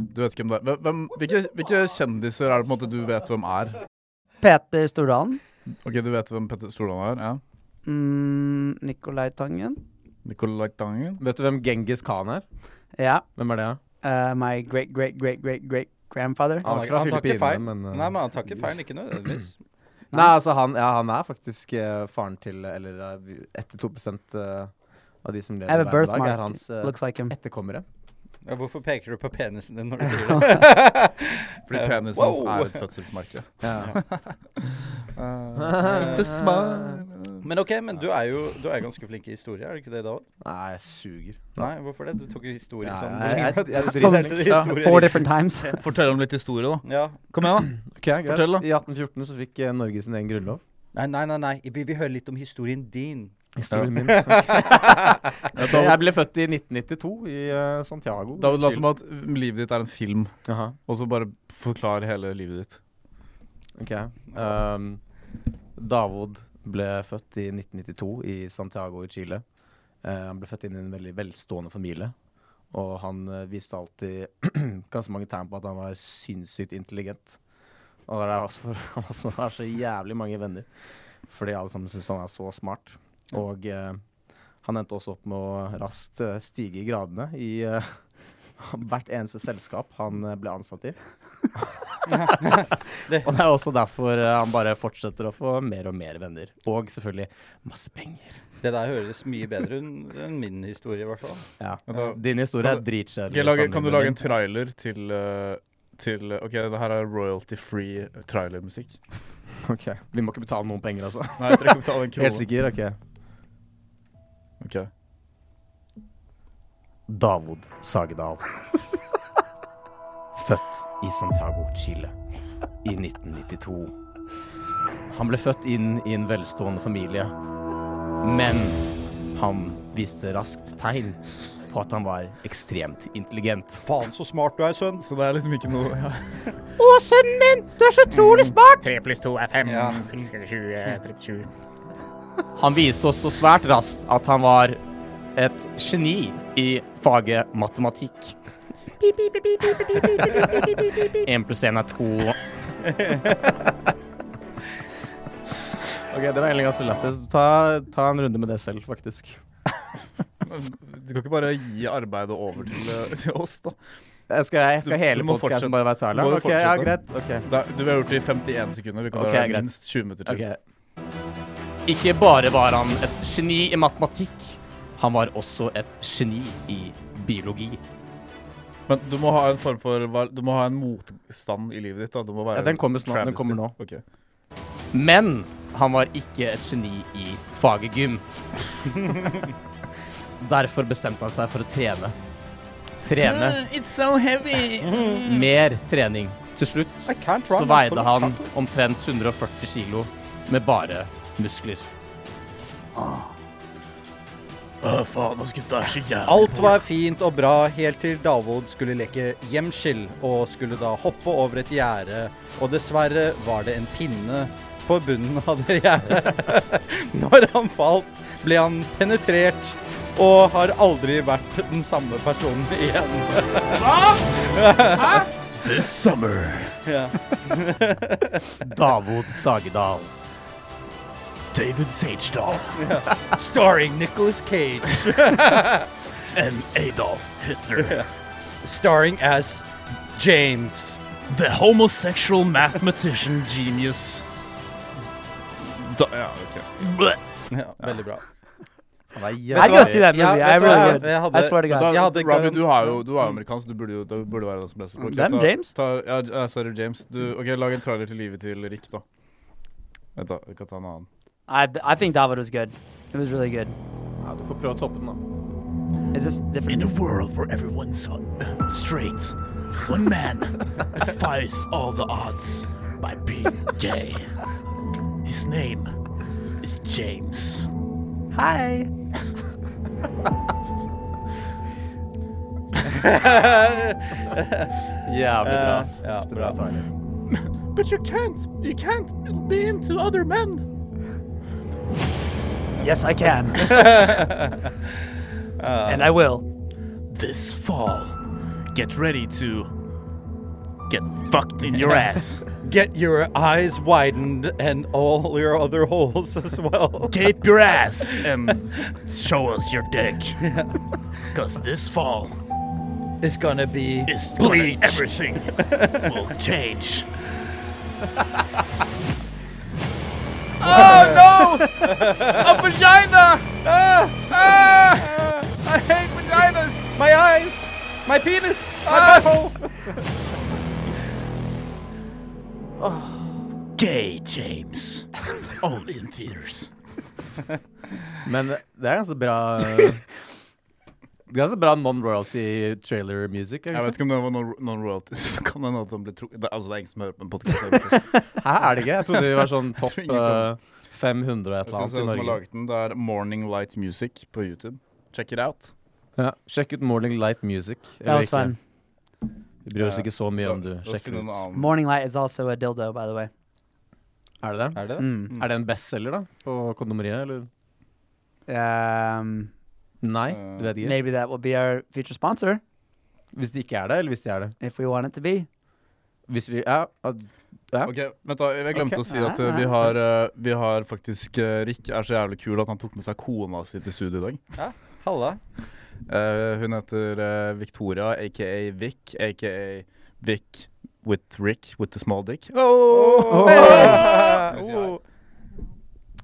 Speaker 1: Du vet hvem det er. Hvem- Hvem, hvilke, hvilke kjendiser er det på en måte du vet hvem er?
Speaker 4: Peter Stordalen.
Speaker 1: Ok, du vet hvem Petter Stordalen er? Ja.
Speaker 4: Mm, Nicolai Tangen.
Speaker 1: Nicolai Tangen?
Speaker 3: Vet du hvem Genghis Khan er?
Speaker 4: Ja.
Speaker 3: Hvem er det, da?
Speaker 4: Uh, my great, great, great, great, great grandfather.
Speaker 3: Han
Speaker 2: Han,
Speaker 3: er
Speaker 2: han,
Speaker 3: fra
Speaker 2: tar ikke
Speaker 3: Filippinene,
Speaker 2: feil.
Speaker 3: men, eh,
Speaker 2: Nei, men han tar ikke feil, ikke nødvendigvis.
Speaker 3: Nei, altså han, ja, han er faktisk eh, faren til eh, Eller eh, vi- 1-2 eh, av de som lever
Speaker 4: I have a
Speaker 3: hver dag,
Speaker 4: birthmark.
Speaker 3: er hans eh,
Speaker 4: Looks like him. [LAUGHS]
Speaker 3: etterkommere. Mm.
Speaker 2: Ja, hvorfor peker du på penisen din når du
Speaker 3: [LAUGHS]
Speaker 2: sier det?
Speaker 1: Fordi
Speaker 2: Eh,
Speaker 1: penisen hans
Speaker 2: wow.
Speaker 1: er et fødselsmerke.
Speaker 2: [LAUGHS]
Speaker 3: [LAUGHS] Ja. Eh,
Speaker 2: It's a men ok, men du er jo du er ganske flink i historie, er du ikke det da òg?
Speaker 3: Nei, jeg suger.
Speaker 2: Nei, hvorfor det? Du tok jo historie
Speaker 3: Ja,
Speaker 2: sånn.
Speaker 3: jeg- jeg- jeg- jeg-
Speaker 2: Sånn- historie.
Speaker 4: Four different
Speaker 3: [LAUGHS]
Speaker 4: times.
Speaker 1: Fortell om litt historie, da.
Speaker 2: Ja.
Speaker 1: Kom igjen, da.
Speaker 3: Ok, greit.
Speaker 1: Fortell, da.
Speaker 3: I 1814 så fikk eh, Norge sin egen grunnlov.
Speaker 2: Nei, nei, nei. nei. Vi vil høre litt om historien din.
Speaker 3: Historien
Speaker 2: [LAUGHS]
Speaker 3: min. Jeg
Speaker 1: David,
Speaker 3: ble født i 1992 i eh, Santiago.
Speaker 1: David lat
Speaker 3: Chile.
Speaker 1: som at livet ditt er en film,
Speaker 3: Jaha,
Speaker 1: og så bare forklar hele livet ditt.
Speaker 3: ok. Ehm, Davod ble født i 1992 i Santiago i Chile. Eh, han ble født inn i en veldig velstående familie. Og han eh, viste alltid [CLEARS THROAT] ganske mange tegn på at han var sinnssykt intelligent. Og det er også for [LAUGHS] han også har så jævlig mange venner. Fordi alle sammen syns han er så smart. Og eh, han endte også opp med å raskt eh, stige i gradene i eh, [LAUGHS] hvert eneste selskap han eh, ble ansatt i. og det er også derfor eh, han bare fortsetter å få mer og mer venner. Og selvfølgelig masse penger.
Speaker 2: Det der høres mye bedre enn enn min historie, i hvert fall.
Speaker 3: Ja.
Speaker 1: Men da-
Speaker 3: Din historie
Speaker 1: kan
Speaker 3: er
Speaker 1: du-
Speaker 3: dritkjedelig.
Speaker 1: Ok, lage, kan du lage en
Speaker 3: sammenlignet.
Speaker 1: trailer til, eh, til eh, OK, det her er royalty-free trailermusikk.
Speaker 3: Ok, Vi må ikke betale noen penger, altså.
Speaker 1: Nei, jeg trenger ikke betale en
Speaker 3: Helt
Speaker 1: krone.
Speaker 3: sikker? Ok.
Speaker 1: Ok.
Speaker 3: Davod
Speaker 1: [LAUGHS]
Speaker 3: Sagedal. Født i Santiago, Chile i 1992. Han ble født inn i en velstående familie, men han viste raskt tegn på at han var ekstremt intelligent.
Speaker 2: Faen, så smart du er, sønn.
Speaker 1: Så det er liksom ikke noe ja.
Speaker 3: Å, sønnen min! Du er så utrolig smart!
Speaker 5: 3 pluss 2 er 5.
Speaker 2: Ja.
Speaker 3: Mm.
Speaker 5: 6 ganger 20 er 37.
Speaker 3: Han viste også svært raskt at han var et geni i faget matematikk. 1 pluss 1 er 2. OK, det var egentlig ganske lættis. Ta, ta en runde med det selv, faktisk.
Speaker 1: Du kan ikke bare gi arbeidet over til, eh, [LAUGHS] til oss, da.
Speaker 3: Jeg skal, jeg skal
Speaker 1: Du-
Speaker 3: hele
Speaker 1: du må
Speaker 3: podcasten
Speaker 1: fortsette.
Speaker 3: bare være Thailand?
Speaker 1: Du må jo
Speaker 3: Ok, ja,
Speaker 1: fortsette.
Speaker 3: greit. ok.
Speaker 1: Det er- du har gjort det i 51 sekunder. Vi kan
Speaker 3: Ok,
Speaker 1: okay,
Speaker 3: greit.
Speaker 1: minst 20 minutter til.
Speaker 3: Ok. Ikke bare var han et geni i matematikk, han var også et geni i biologi.
Speaker 1: Men du må ha en form for val- Du må ha en motstand i livet ditt. Da. Du må være
Speaker 3: Ja, den kommer snart, den
Speaker 1: travesty.
Speaker 3: kommer nå.
Speaker 1: Ok.
Speaker 3: Men han var ikke et geni i faget gym. [LAUGHS] Derfor bestemte han seg for å trene. Trene.
Speaker 2: Mm,
Speaker 3: [LAUGHS] Mer trening. Til slutt
Speaker 2: I can't
Speaker 3: så
Speaker 2: run.
Speaker 3: veide han omtrent 140 kilo med bare muskler.
Speaker 1: Å, faen, ass, gutta er så jævlig
Speaker 2: Alt var fint og bra helt til Davod skulle leke gjemsel og skulle da hoppe over et gjerde. Og dessverre var det en pinne på bunnen av det gjerdet. [LAUGHS] Når han falt, ble han penetrert og har aldri vært den samme personen igjen.
Speaker 1: This summer. [LAUGHS]
Speaker 2: Ja.
Speaker 3: Davod Sagedal.
Speaker 1: David Sagedal
Speaker 2: Starring Nicholas Cage.
Speaker 1: [LAUGHS] and Adolf Hitler.
Speaker 2: Starring as James.
Speaker 1: The homosexual mathematician genius. Da, ja, ok.
Speaker 2: Ja, veldig bra.
Speaker 4: I gotta see that movie.
Speaker 2: Yeah,
Speaker 4: I
Speaker 2: vet du hva?
Speaker 4: really
Speaker 2: Jeg
Speaker 4: good.
Speaker 2: hadde-
Speaker 4: I swear to
Speaker 1: Da,
Speaker 4: God.
Speaker 2: Jeg hadde
Speaker 1: Robbie,
Speaker 2: garan-
Speaker 1: du, har jo, du er jo amerikansk. Du burde, jo, du burde være den som leser. Ok,
Speaker 4: Hvem?
Speaker 1: ta-
Speaker 4: James?
Speaker 1: Ta, ja, j- ja, sorry, James. Du, ok, Lag en trailer til livet til Rick, da. Vent, da. Vi kan ta en annen.
Speaker 4: I, I think David was good. It was really good.
Speaker 3: Ja, du får prøve å toppe den, da.
Speaker 4: Is this different?
Speaker 6: In a world where everyone's uh, straight, one man defies all the odds by being gay. His name is James.
Speaker 4: Hi.
Speaker 3: Jævlig bra. ass.
Speaker 2: Ja,
Speaker 3: Det er
Speaker 2: bra.
Speaker 3: Thailand.
Speaker 6: But you can't, you can't be into other men.
Speaker 4: Yes,
Speaker 3: [LAUGHS]
Speaker 4: I can. [LAUGHS] and I will.
Speaker 6: This fall, get ready to get fucked in your ass.
Speaker 2: Get your eyes widened and all your other holes as well.
Speaker 6: Gape your ass and show us your dick. Cause this fall,
Speaker 2: It's gonna be
Speaker 6: is bleach. Everything will change.
Speaker 2: My eyes! My penis! My butthole!
Speaker 6: Gay
Speaker 5: [LAUGHS]
Speaker 6: James. Only in theaters.
Speaker 3: Men det er ganske
Speaker 1: [LAUGHS]
Speaker 3: bra Det er ganske bra non-royalty trailer music.
Speaker 1: Jeg vet ikke om det var non- non-royalty. [LAUGHS] så Kan hende at den ble tro... Det, altså, det er ingen som hører på en podkast. [LAUGHS]
Speaker 3: Hæ, er det ikke? Jeg trodde vi var sånn topp
Speaker 1: Jeg tror ingen
Speaker 3: eh, 500 et
Speaker 1: Jeg
Speaker 3: eller
Speaker 1: skal
Speaker 3: annet
Speaker 1: se
Speaker 3: i
Speaker 1: hvem som har
Speaker 3: Norge.
Speaker 1: laget den. Det er Morning Light Music på YouTube. Check it out.
Speaker 3: Ja, sjekk ut Morning Light Music.
Speaker 4: That
Speaker 3: eller
Speaker 4: was
Speaker 3: ikke.
Speaker 4: fun.
Speaker 3: Vi bryr oss
Speaker 1: Ja.
Speaker 3: ikke så mye om du
Speaker 1: Da- da
Speaker 3: sjekker
Speaker 1: finner
Speaker 3: det
Speaker 1: du en
Speaker 3: ut.
Speaker 1: annen.
Speaker 4: Morning Light is also a dildo, by the way.
Speaker 3: Er det det?
Speaker 2: Er det det?
Speaker 4: Mm.
Speaker 3: Er det en bestselger, da? På kondomeriet, eller?
Speaker 4: Um,
Speaker 3: Nei,
Speaker 1: Eh,
Speaker 3: du vet ikke.
Speaker 4: maybe that will be our future sponsor
Speaker 3: Hvis det ikke er det, eller hvis det er det.
Speaker 4: if we want it to be.
Speaker 3: Hvis vi Ja, at- ja.
Speaker 1: Ok, vent da, Jeg glemte
Speaker 3: Ok.
Speaker 1: å si at eh, vi har, eh, vi har faktisk eh, Rick er så jævlig kul at han tok med seg kona si til studio i dag.
Speaker 2: Halla.
Speaker 1: Eh, hun heter eh, Victoria, aka Vic, aka Vic with Rick with the small dick.
Speaker 2: Oh!
Speaker 1: Hey!
Speaker 2: Oh!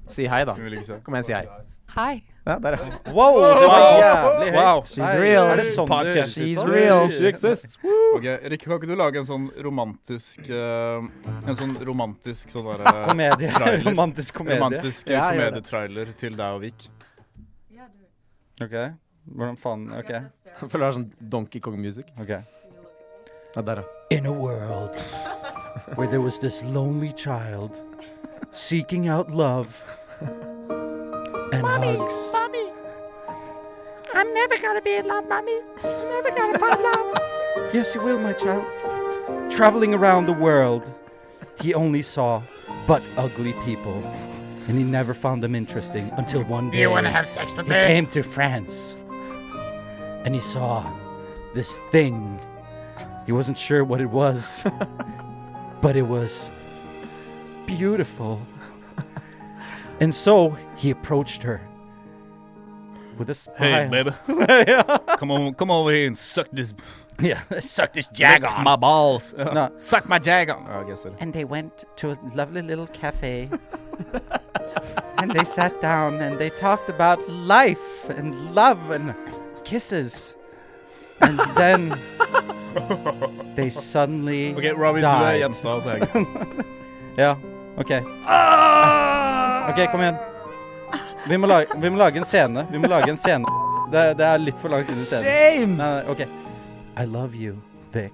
Speaker 1: Si hei.
Speaker 3: Si hei, da.
Speaker 1: Hun vil ikke si.
Speaker 3: Kom igjen, si hei.
Speaker 7: Hi.
Speaker 2: Ja, der er han. Wow, det var jævlig høyt.
Speaker 4: Wow, she's
Speaker 2: Nei,
Speaker 4: real.
Speaker 2: Er det sånn du
Speaker 1: Podcast.
Speaker 2: høres ut
Speaker 4: She's
Speaker 2: som?
Speaker 4: real.
Speaker 2: Oi.
Speaker 4: She
Speaker 1: Ok, Rick, kan ikke du lage en sånn romantisk eh, En sånn romantisk sånn derre
Speaker 2: Komedie.
Speaker 1: Trailer.
Speaker 2: [LAUGHS] Romantisk komedie.
Speaker 1: Romantisk eh,
Speaker 3: Ja, gjør det.
Speaker 1: komedietrailer til deg og Vic.
Speaker 2: Ok, hvordan faen Ok.
Speaker 3: Jeg Føler det er sånn Donkey Kong-music.
Speaker 2: ok.
Speaker 3: Ja, der, ja.
Speaker 6: In
Speaker 2: [LAUGHS]
Speaker 6: a world where there was this lonely child seeking out love and hugs.
Speaker 7: Mommy, I'm never gonna be in love, mommy. I'm never gonna find love.
Speaker 2: Yes, you will, my child. Traveling around the world, he only saw but ugly people, and he never found them interesting until one day
Speaker 5: You wanna have sex with
Speaker 2: he
Speaker 1: Eh.
Speaker 5: me?
Speaker 2: came to France and he saw this thing. He wasn't sure what
Speaker 1: [LAUGHS]
Speaker 2: it was, but it was beautiful. And so he approached her with a smile.
Speaker 5: [LAUGHS]
Speaker 1: Hey, baby. come, on, come over here and suck this
Speaker 2: Yeah.
Speaker 5: [LAUGHS] Suck this jag
Speaker 1: Lick
Speaker 5: on. [LAUGHS]
Speaker 1: my balls.
Speaker 2: No.
Speaker 5: Suck my jag on.
Speaker 1: Ja, ok, sorry.
Speaker 2: and they went to a lovely little cafe. and they sat down and they talked about life and love and kisses. And
Speaker 1: [LAUGHS]
Speaker 2: then they suddenly
Speaker 1: Ok, Robin, du er
Speaker 2: died.
Speaker 1: jenta, så
Speaker 2: [LAUGHS]
Speaker 1: er jeg
Speaker 2: Ja, OK. OK, kom igjen. Vi må, lage, vi må lage en scene. Vi må lage en scene. Det, det er litt for langt inn i scenen.
Speaker 4: James!
Speaker 2: Nei, nei, OK. I love you, Vic.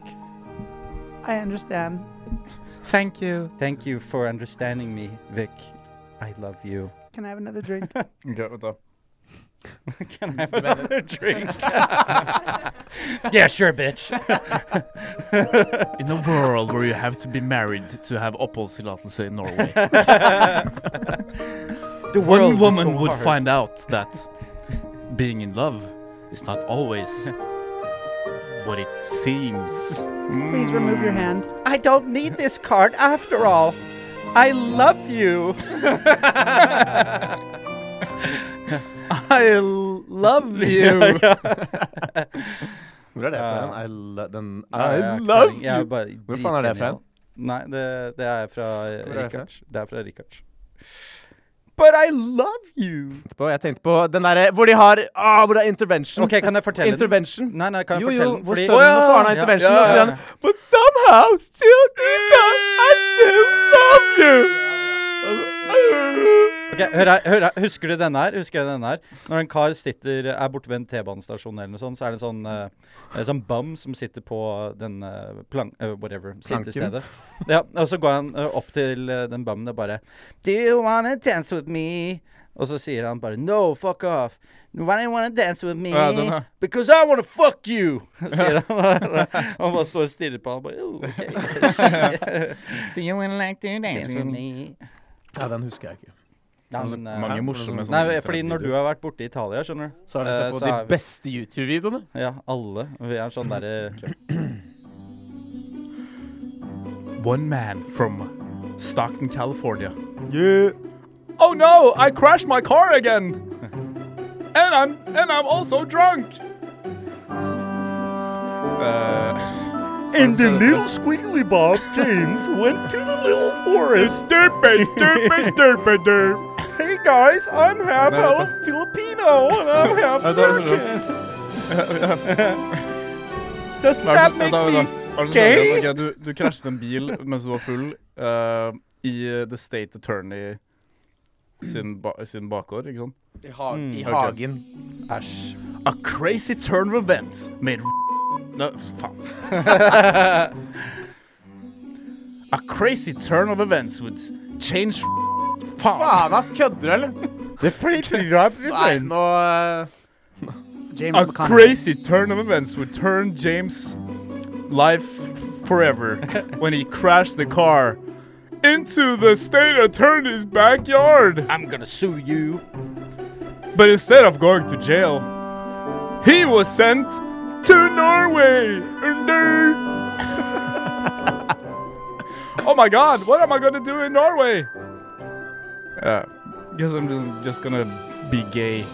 Speaker 4: I understand.
Speaker 5: Thank you.
Speaker 2: Thank you for understanding me, Vic. I love you.
Speaker 4: Can I have another drink?
Speaker 1: Ok, vent da.
Speaker 2: Can I have another drink? yeah, sure, bitch.
Speaker 1: In a world where you have to be married to have oppholdstillatelse
Speaker 5: [LAUGHS]
Speaker 1: in Norway.
Speaker 2: The
Speaker 1: One
Speaker 2: is
Speaker 1: woman
Speaker 2: so
Speaker 1: would
Speaker 2: hard.
Speaker 1: find out that being in love is not always what it seems.
Speaker 4: Please remove your hand.
Speaker 2: I don't need this card after all. I love you. [LAUGHS]
Speaker 1: I
Speaker 2: [LAUGHS]
Speaker 1: love you!
Speaker 3: Hvor er det fra?
Speaker 2: Ja.
Speaker 3: igjen? I lo den
Speaker 2: Nei,
Speaker 3: I
Speaker 2: uh, jeg har ikke
Speaker 3: love
Speaker 2: peiling. Jeg er
Speaker 3: you!
Speaker 2: bare
Speaker 3: Hvor faen er det fra?
Speaker 2: dritgenial. Nei, det, det er fra
Speaker 3: er det fra?
Speaker 2: Richards. Det er fra Richards. But I love you.
Speaker 3: På- Jeg tenkte på den derre hvor de har ah, Hvor det er intervention.
Speaker 2: OK, kan jeg fortelle
Speaker 3: Intervention.
Speaker 2: den? Nei, nei, kan jeg
Speaker 3: Jo, jo,
Speaker 2: fortelle den?
Speaker 3: hvor
Speaker 2: Fordi-
Speaker 3: sønnen og faren har intervention,
Speaker 2: Ja,
Speaker 3: og så
Speaker 2: ja,
Speaker 3: sier han But somehow, still deep down, I still love you!
Speaker 2: Ok, hør her, hør her. Husker du denne her? Husker du denne her? Når en kar sitter, er borte ved en T-banestasjon eller noe sånt, så er det en sånn, eh, en sånn bum som sitter på den eh, plank... eh, whatever. Sittestedet. Ja, og så går han eh, opp til eh, den bummen og bare Do you wanna dance with me? Og så sier han bare No, fuck off. Why do you wanna dance with me?
Speaker 1: Ja, den her.
Speaker 2: Because I wanna fuck you! Sier han. han bare står og stirrer på han bare oh, OK.
Speaker 5: [LAUGHS] Do you wanna like to dance
Speaker 2: dance
Speaker 5: with
Speaker 2: with
Speaker 5: me?
Speaker 2: me.
Speaker 3: Ja, den husker jeg ikke.
Speaker 2: Han, eh,
Speaker 1: Mange morsomme sånne
Speaker 2: Nei, fordi når du har vært borte i Italia, skjønner du
Speaker 3: Sånn Så har jeg
Speaker 2: Eh,
Speaker 3: sett på
Speaker 2: så er
Speaker 3: de
Speaker 2: vi-
Speaker 3: beste YouTube-videoene.
Speaker 2: Ja, alle. Vi er sånn derre
Speaker 1: One man from Stockton, California. Yeah. Oh no! I crashed my car again, and I'm and I'm also drunk. Uh,
Speaker 6: And the little squiggly bob James went to the little forest. Derpy, derpy, derpy, derp. Hey guys, I'm half
Speaker 1: Allo-
Speaker 6: Filipino and I'm half
Speaker 1: Vent da, vent da, vent
Speaker 6: Does
Speaker 1: da, vent da, vent da. Hva er det som skjer? Ok, du, du krasjet en bil mens du var full eh, i The State Attorney sin, ba sin bakgård, ikke sant?
Speaker 3: [LAUGHS] I, Mm, hag I
Speaker 1: ok.
Speaker 3: hagen.
Speaker 1: A crazy turn of events made No, faen. A crazy turn of events would change
Speaker 3: Faen, ass! Kødder du, eller?
Speaker 2: Det er pretty rough,
Speaker 3: [LAUGHS] Nei, nå eh,
Speaker 4: [LAUGHS] James
Speaker 1: A
Speaker 4: McConaughey.
Speaker 1: crazy turn of events would turn James' life
Speaker 2: [LAUGHS]
Speaker 1: forever when he crashed the car into the state attorney's backyard.
Speaker 2: I'm gonna sue you.
Speaker 1: But instead of going to jail, he was sent to Norway. oh my god, what am I gonna do in Norway? Uh, guess I'm just just gonna be gay.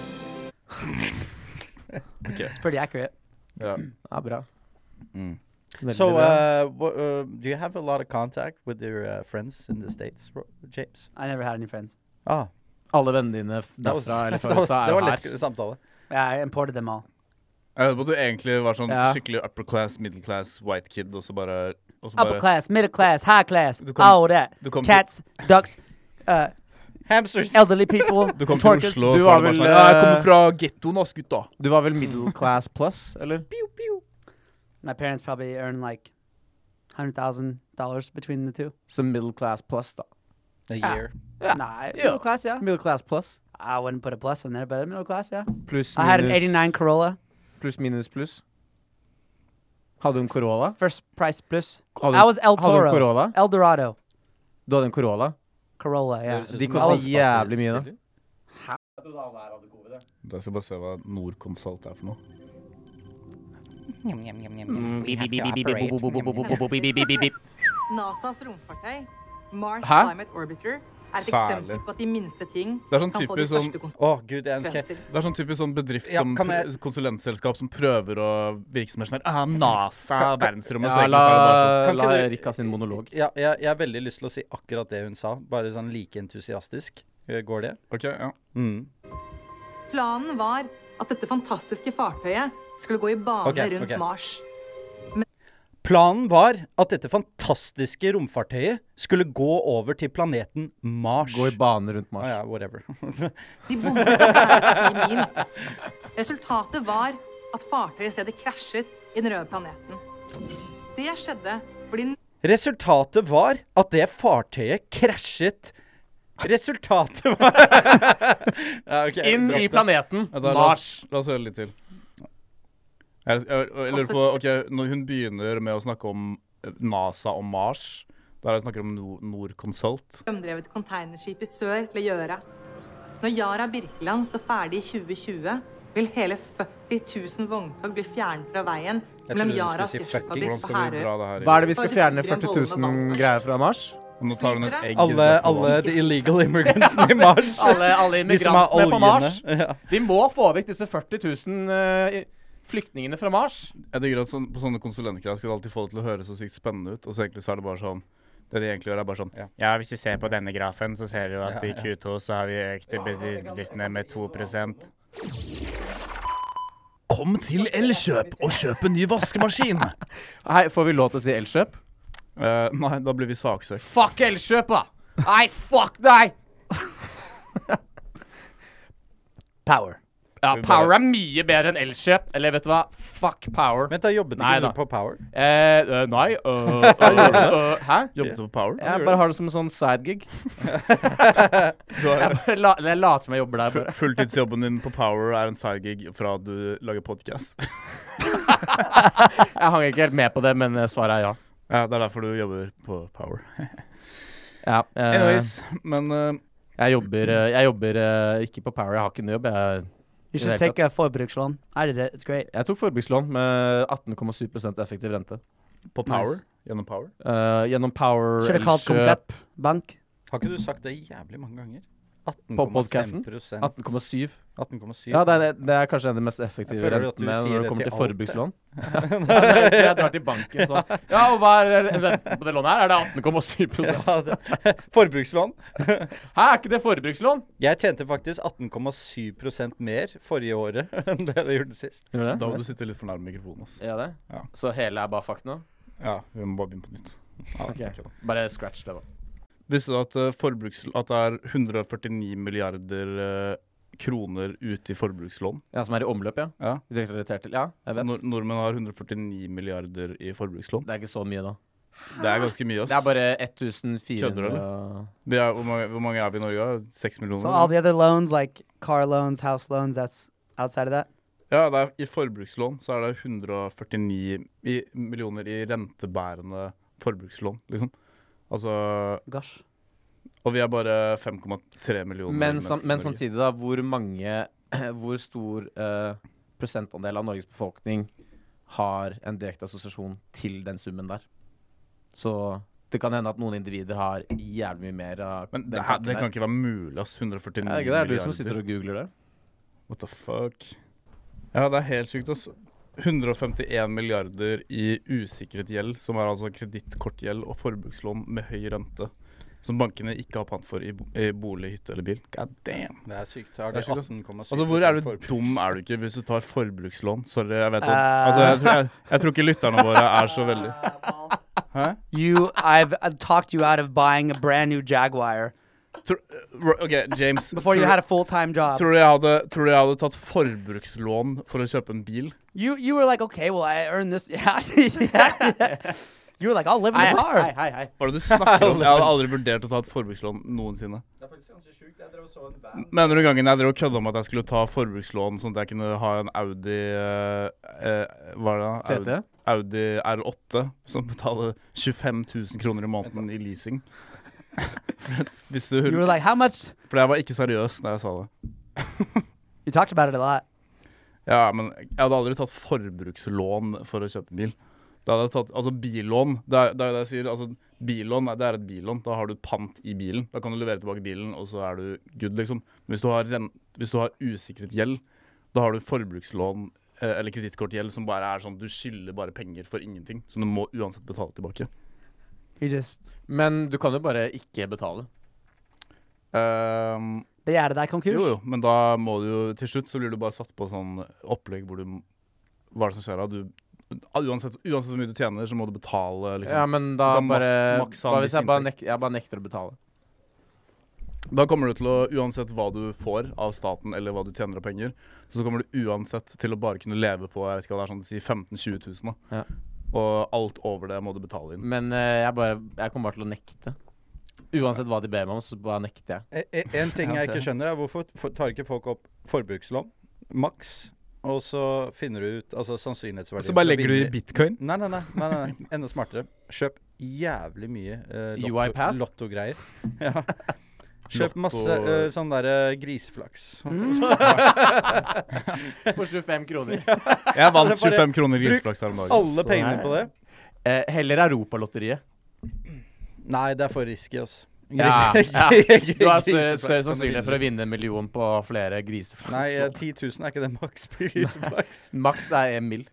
Speaker 4: It's pretty accurate.
Speaker 1: Yeah.
Speaker 3: Ja, bra. [CLEARS THROAT] Veldig
Speaker 2: So,
Speaker 3: bra.
Speaker 2: uh, wha- uh, do you have a lot of contact with your uh, friends in the States, Ro- James?
Speaker 4: I never had any friends.
Speaker 2: Ah,
Speaker 3: Alle vennene dine f-
Speaker 2: that was-
Speaker 3: derfra eller
Speaker 2: that
Speaker 3: fra
Speaker 2: was-
Speaker 3: USA er
Speaker 2: [LAUGHS]
Speaker 3: jo
Speaker 2: Det var lett
Speaker 3: her.
Speaker 2: samtale.
Speaker 4: Yeah, I imported them all.
Speaker 1: Jeg vet på at du egentlig var sånn
Speaker 3: Ja.
Speaker 1: skikkelig upper class, middle class, white kid, og så bare, og så
Speaker 4: Upper
Speaker 1: bare
Speaker 4: class, middle class, high class,
Speaker 1: Du kom-
Speaker 4: all that.
Speaker 1: du kom til-
Speaker 4: Cats, ducks, uh,
Speaker 2: Hamsters.
Speaker 4: elderly people,
Speaker 1: Du kom til
Speaker 4: torkas.
Speaker 1: Oslo, og så
Speaker 3: Du
Speaker 1: var
Speaker 3: var
Speaker 1: det bare
Speaker 3: vel,
Speaker 1: sånn Ja, jeg kommer
Speaker 3: eh,
Speaker 1: fra gettoen, ass, gutta.
Speaker 3: [LAUGHS] Du var vel middle class plus, [LAUGHS] eller?
Speaker 4: My parents probably earned like hundred thousand dollars between the two.
Speaker 3: Så middle class plus, da.
Speaker 2: A year.
Speaker 3: Yeah.
Speaker 4: Nah,
Speaker 3: Yeah.
Speaker 4: middle class, yeah.
Speaker 3: Middle class plus.
Speaker 4: I wouldn't put a plus in there, but middle class, yeah.
Speaker 3: Pluss
Speaker 4: I had an
Speaker 3: minus,
Speaker 4: 89 Corolla,
Speaker 3: pluss minus pluss. Hadde du en Corolla?
Speaker 4: first price plus.
Speaker 3: Hadde,
Speaker 4: I was El
Speaker 3: hadde du en
Speaker 4: Toro,
Speaker 3: Corolla?
Speaker 4: El Dorado,
Speaker 3: Du hadde en Corolla?
Speaker 4: Corolla, yeah.
Speaker 3: De koster jævlig mye, da.
Speaker 1: sånn, Jeg skal bare se hva Norconsult er for noe.
Speaker 5: Yum, yum, yum, yum,
Speaker 1: Mm,
Speaker 5: yum. We have to operate. Yum, yum, yum.
Speaker 8: NASAs romfartøy, Mars
Speaker 3: Hæ?
Speaker 8: Climate Orbiter, er et
Speaker 1: Særlig.
Speaker 8: eksempel på at de minste ting
Speaker 1: Det er sånn
Speaker 8: kan få Liksom. de
Speaker 1: typisk sånn-
Speaker 8: største
Speaker 2: Å, gud, jeg ønsker
Speaker 8: konsekvenser.
Speaker 1: Det er sånn typisk sånn bedrift
Speaker 2: Ja,
Speaker 1: som
Speaker 2: kan jeg-
Speaker 1: pr- konsulentselskap som prøver å virke som en sånn her, ah, NASA, verdensrommet, så egentlig så
Speaker 3: Ja,
Speaker 1: er det bare sånn.
Speaker 3: la
Speaker 2: Kan
Speaker 3: la
Speaker 2: ikke du-
Speaker 3: Rikka sin monolog.
Speaker 2: Ja, jeg, jeg har veldig lyst til å si akkurat det hun sa, bare sånn like entusiastisk. Eh, Går det?
Speaker 1: Ok, ja.
Speaker 2: Mm.
Speaker 8: Planen var at dette fantastiske fartøyet skulle gå i bane
Speaker 2: Ok,
Speaker 8: rundt
Speaker 2: ok.
Speaker 8: Mars.
Speaker 2: Planen var at dette fantastiske romfartøyet skulle gå over til planeten Mars.
Speaker 3: Gå i bane rundt
Speaker 2: ah,
Speaker 3: Mars.
Speaker 2: ja, whatever. [LAUGHS]
Speaker 8: De bommet på snart ti mil. Resultatet var at fartøyet i stedet krasjet i den røde planeten. Det skjedde fordi
Speaker 2: Resultatet var at det fartøyet krasjet. Resultatet
Speaker 3: [LAUGHS]
Speaker 2: var ja, ok,
Speaker 3: Inn
Speaker 2: dropp
Speaker 3: i
Speaker 2: det.
Speaker 3: planeten
Speaker 1: Ja, da, la, oss, la oss høre litt til. Jeg, jeg, jeg lurer på, ok, Når hun begynner med å snakke om eh, NASA og Mars Da er det snakker om no Norconsult.
Speaker 8: strømdrevet containerskip i sør ble gjøre. Når Yara Birkeland står ferdig i 2020, vil hele 40 000 vogntog bli fjernet fra veien mellom
Speaker 2: trodde du
Speaker 8: Yaras
Speaker 2: skulle si fucking
Speaker 8: gjørselsfabrikk
Speaker 1: Hvordan
Speaker 8: og
Speaker 1: skal vi
Speaker 8: Herøy.
Speaker 1: dra det her
Speaker 3: Hva er
Speaker 1: i
Speaker 3: det vi skal fjerne 40 000 greier fra Mars?
Speaker 1: Nå tar hun et egg. i
Speaker 2: alle,
Speaker 1: flaske vann.
Speaker 2: alle de illegal immigrantsene i
Speaker 3: [LAUGHS]
Speaker 2: Mars.
Speaker 3: Alle, alle
Speaker 2: De som har
Speaker 3: immigrantene på Mars. [LAUGHS]
Speaker 2: oljene. Ja.
Speaker 3: Vi må få vekk disse 40 000 eh, flyktningene fra Mars.
Speaker 1: Jeg digger at sånn, På sånne konsulentgreier skulle du alltid få det til å høres så sykt spennende ut, og så egentlig så er det bare sånn Det de egentlig gjør, er bare sånn
Speaker 2: Ja.
Speaker 5: Ja, hvis du ser på denne grafen, så ser du at i Q2 så har vi økt bedriftene med 2
Speaker 6: Kom til Elkjøp og kjøp en ny vaskemaskin.
Speaker 3: Hei, får vi lov til å si Elkjøp?
Speaker 1: eh, [LAUGHS] Nei, da blir vi saksøkt.
Speaker 3: Fuck Elkjøp, da! Nei, fuck deg!
Speaker 4: Power.
Speaker 3: Ja,
Speaker 1: vi bare-
Speaker 3: [LAUGHS] Power er mye bedre enn Elkjøp. Eller vet du hva? Fuck Power.
Speaker 2: Vent, da jobbet
Speaker 3: Nei
Speaker 2: ikke du
Speaker 3: da.
Speaker 2: på Power?
Speaker 3: eh, eh, nei [LAUGHS] øh, øh, øh, Hæ?
Speaker 1: Jobbet du for Power?
Speaker 3: Jeg bare har det som en sånn [LAUGHS] sidegig.
Speaker 1: Du har-
Speaker 3: Jeg bare la- jeg later som jeg jobber der.
Speaker 1: Full-
Speaker 3: bare
Speaker 1: [LAUGHS] Fulltidsjobben din på Power er en sidegig fra du lager podkast.
Speaker 3: Jeg hang ikke helt med på det, men eh, svaret er ja.
Speaker 1: [LAUGHS] Ja, det er derfor du jobber på Power.
Speaker 3: ja eh,
Speaker 1: Anyways, men eh,
Speaker 3: Jeg jobber, eh, jeg jobber eh, ikke på Power, jeg har ikke noe jobb. Jeg,
Speaker 4: You
Speaker 3: Yeah,
Speaker 4: should take
Speaker 3: that-
Speaker 4: a forbrukslån. I did it. It's great.
Speaker 3: jeg tok forbrukslån med 18,7 effektiv rente.
Speaker 1: på Power? Gjennom Power?
Speaker 3: Eh, gjennom Power
Speaker 4: Should have called
Speaker 3: Elkjøp
Speaker 4: Komplett Bank.
Speaker 2: Har ikke du sagt det jævlig mange ganger?
Speaker 3: På podcasten?
Speaker 2: 18,5%.
Speaker 3: 18,7.
Speaker 2: 18,7.
Speaker 3: Ja, det er, det er kanskje en av de mest effektive
Speaker 2: Jeg føler at du
Speaker 3: rentene
Speaker 2: sier
Speaker 3: når
Speaker 2: det
Speaker 3: det kommer
Speaker 2: til
Speaker 3: til
Speaker 2: alt,
Speaker 3: forbrukslån. [LAUGHS] Ja, jeg, jeg drar til banken sånn Ja, og hva er renten på det lånet her? Er det 18,7
Speaker 2: [LAUGHS] Ja, det- [LAUGHS] Forbrukslån.
Speaker 3: Hæ, er ikke det forbrukslån?
Speaker 2: Jeg tjente faktisk 18,7 mer forrige året [LAUGHS] enn det jeg gjorde sist.
Speaker 3: Gjør
Speaker 1: Da må du sitte litt for nærme mikrofonen. ass.
Speaker 3: Ja, det?
Speaker 1: Ja.
Speaker 3: Så hele er bare fuck nå?
Speaker 1: Ja, vi må bare begynne på nytt. Ja, ok da.
Speaker 3: Bare scratch det, da.
Speaker 1: Visste du at, eh, forbruks, at det er 149 milliarder eh, kroner ute i forbrukslån?
Speaker 3: Ja, Som er i omløp, ja?
Speaker 1: Ja.
Speaker 3: Direkte relatert til? Ja, jeg vet.
Speaker 1: Nor nordmenn har 149 milliarder i forbrukslån.
Speaker 3: Det er ikke så mye, da.
Speaker 1: Det er ganske mye, ass.
Speaker 3: Det er bare 1400
Speaker 1: Kødder du, Vi er, hvor, mange, hvor mange er vi i Norge? da? Seks millioner?
Speaker 4: So all the other loans, like car loans, house loans, that's outside of that.
Speaker 1: Ja, det er, I forbrukslån så er det 149 i, millioner i rentebærende forbrukslån, liksom. Altså
Speaker 4: Gosh.
Speaker 1: Og vi er bare 5,3 millioner
Speaker 3: Men,
Speaker 1: mennesker
Speaker 3: sam,
Speaker 1: i
Speaker 3: men
Speaker 1: Norge.
Speaker 3: samtidig, da, hvor mange [CLEARS THROAT] Hvor stor eh, prosentandel av Norges befolkning har en direkte assosiasjon til den summen der? Så det kan hende at noen individer har jævlig mye mer av
Speaker 1: Men
Speaker 3: den
Speaker 1: det, her,
Speaker 3: kaken
Speaker 1: det
Speaker 3: der.
Speaker 1: kan ikke være mulig, ass. 149
Speaker 3: Er det ikke det? Er det du som sitter
Speaker 1: milliarder.
Speaker 3: og googler det?
Speaker 1: What the fuck? Ja, det er helt sykt, ass. 151 milliarder i usikret gjeld, som er altså kredittkortgjeld og forbrukslån med høy rente. Som bankene ikke har pant for i, bo i bolig, hytte eller bil. God damn.
Speaker 2: Det er sykt. Har
Speaker 1: Det
Speaker 2: det
Speaker 1: er sykt, ass.
Speaker 2: 18,7
Speaker 1: Altså, Hvor er du
Speaker 2: forbruk?
Speaker 1: dum er du ikke hvis du tar forbrukslån? Sorry, jeg vet
Speaker 4: Eh.
Speaker 1: det. Altså, jeg, tror, jeg, jeg tror ikke lytterne våre er så veldig Hæ?
Speaker 4: You, I've, I've talked you out of buying a brand new Jaguar
Speaker 1: Tror, Ro- OK, James.
Speaker 4: before you
Speaker 1: tror-
Speaker 4: had a full time job.
Speaker 1: Tror du, jeg hadde, tror du jeg hadde tatt forbrukslån for å kjøpe en bil?
Speaker 4: You, you were like, okay, well, I earned this. [LAUGHS] Yeah, yeah, yeah. You were like, I'll live in a car.
Speaker 3: hei, hei.
Speaker 1: Hva er det du snakker om? Jeg hadde aldri vurdert å ta et forbrukslån noensinne.
Speaker 2: Det er faktisk ganske sjukt. Jeg drev og så en van.
Speaker 1: Mener du gangen jeg drev og kødda om at jeg skulle ta forbrukslån sånn at jeg kunne ha en Audi eh, eh, Hva er det? da?
Speaker 3: TT?
Speaker 1: Audi R8 som betaler 25 000 kroner i måneden i leasing. [LAUGHS] Hvis du,
Speaker 4: You were like, how much?
Speaker 1: for jeg var ikke seriøs da jeg sa det.
Speaker 4: You talked about it a lot.
Speaker 1: Ja, men jeg hadde aldri tatt forbrukslån for å kjøpe bil. Da hadde jeg tatt, altså Billån det er, det er jo det jeg sier, altså billån det er et billån. Da har du pant i bilen. Da kan du levere tilbake bilen, og så er du good, liksom. Men hvis du har, ren, hvis du har usikret gjeld, da har du forbrukslån eh, eller kredittkortgjeld som bare er sånn du skylder bare penger for ingenting, som du må uansett betale tilbake.
Speaker 4: You just,
Speaker 3: Men du kan jo bare ikke betale.
Speaker 1: Ehm,
Speaker 4: they added that conclusion.
Speaker 1: jo, jo, men da må du jo Til slutt så blir du bare satt på sånn opplegg hvor du Hva er det som skjer da? Du, ah, uansett, uansett hvor mye du tjener, så må du betale, liksom.
Speaker 3: Ja, men da
Speaker 1: Du kan
Speaker 3: bare
Speaker 1: maks- makse
Speaker 3: Hva
Speaker 1: en
Speaker 3: hvis
Speaker 1: viss
Speaker 3: jeg bare,
Speaker 1: inntekt.
Speaker 3: nek jeg bare nekter å betale?
Speaker 1: Da kommer du til å, uansett hva du får av staten eller hva du tjener av penger, så kommer du uansett til å bare kunne leve på jeg vet ikke hva det er, sånn å si 15 000-20 000. Da.
Speaker 3: Ja.
Speaker 1: Og alt over det må du betale inn.
Speaker 3: Men eh, jeg, bare, jeg kommer bare til å nekte. Uansett hva de ber meg om, så bare nekter jeg.
Speaker 2: E- e- En ting jeg ikke skjønner, er hvorfor f- tar ikke folk opp forbrukslån, maks, og så finner du ut altså sannsynlighetsverdien
Speaker 1: Så bare
Speaker 2: for å
Speaker 1: legger du i
Speaker 2: vinne-
Speaker 1: bitcoin?
Speaker 2: Nei, nei, nei. nei, nei, nei. Enda smartere. Kjøp jævlig mye eh,
Speaker 3: UiPath?
Speaker 2: lotto-
Speaker 1: [LAUGHS]
Speaker 2: lottogreier. ja. Kjøp
Speaker 1: Lotto-
Speaker 2: masse eh, sånn derre griseflaks.
Speaker 1: Mm.
Speaker 3: For 25 kroner.
Speaker 1: Jeg vant
Speaker 2: Det er bare-
Speaker 1: 25 kroner i griseflaks her om dagen.
Speaker 2: Alle
Speaker 1: så-
Speaker 2: pengene på det.
Speaker 3: Eh, heller Europalotteriet.
Speaker 2: Nei, det er for risky, altså.
Speaker 3: Ja, [LAUGHS]
Speaker 2: Gris- [LAUGHS]
Speaker 3: ja. Du har større,
Speaker 2: griseflaks
Speaker 3: større
Speaker 2: kan du
Speaker 3: sannsynlighet for å
Speaker 2: vinne.
Speaker 3: vinne en million på flere griseflaks.
Speaker 2: Nei, eh, 10 000 er ikke det maks på griseflaks.
Speaker 3: Maks er én mil.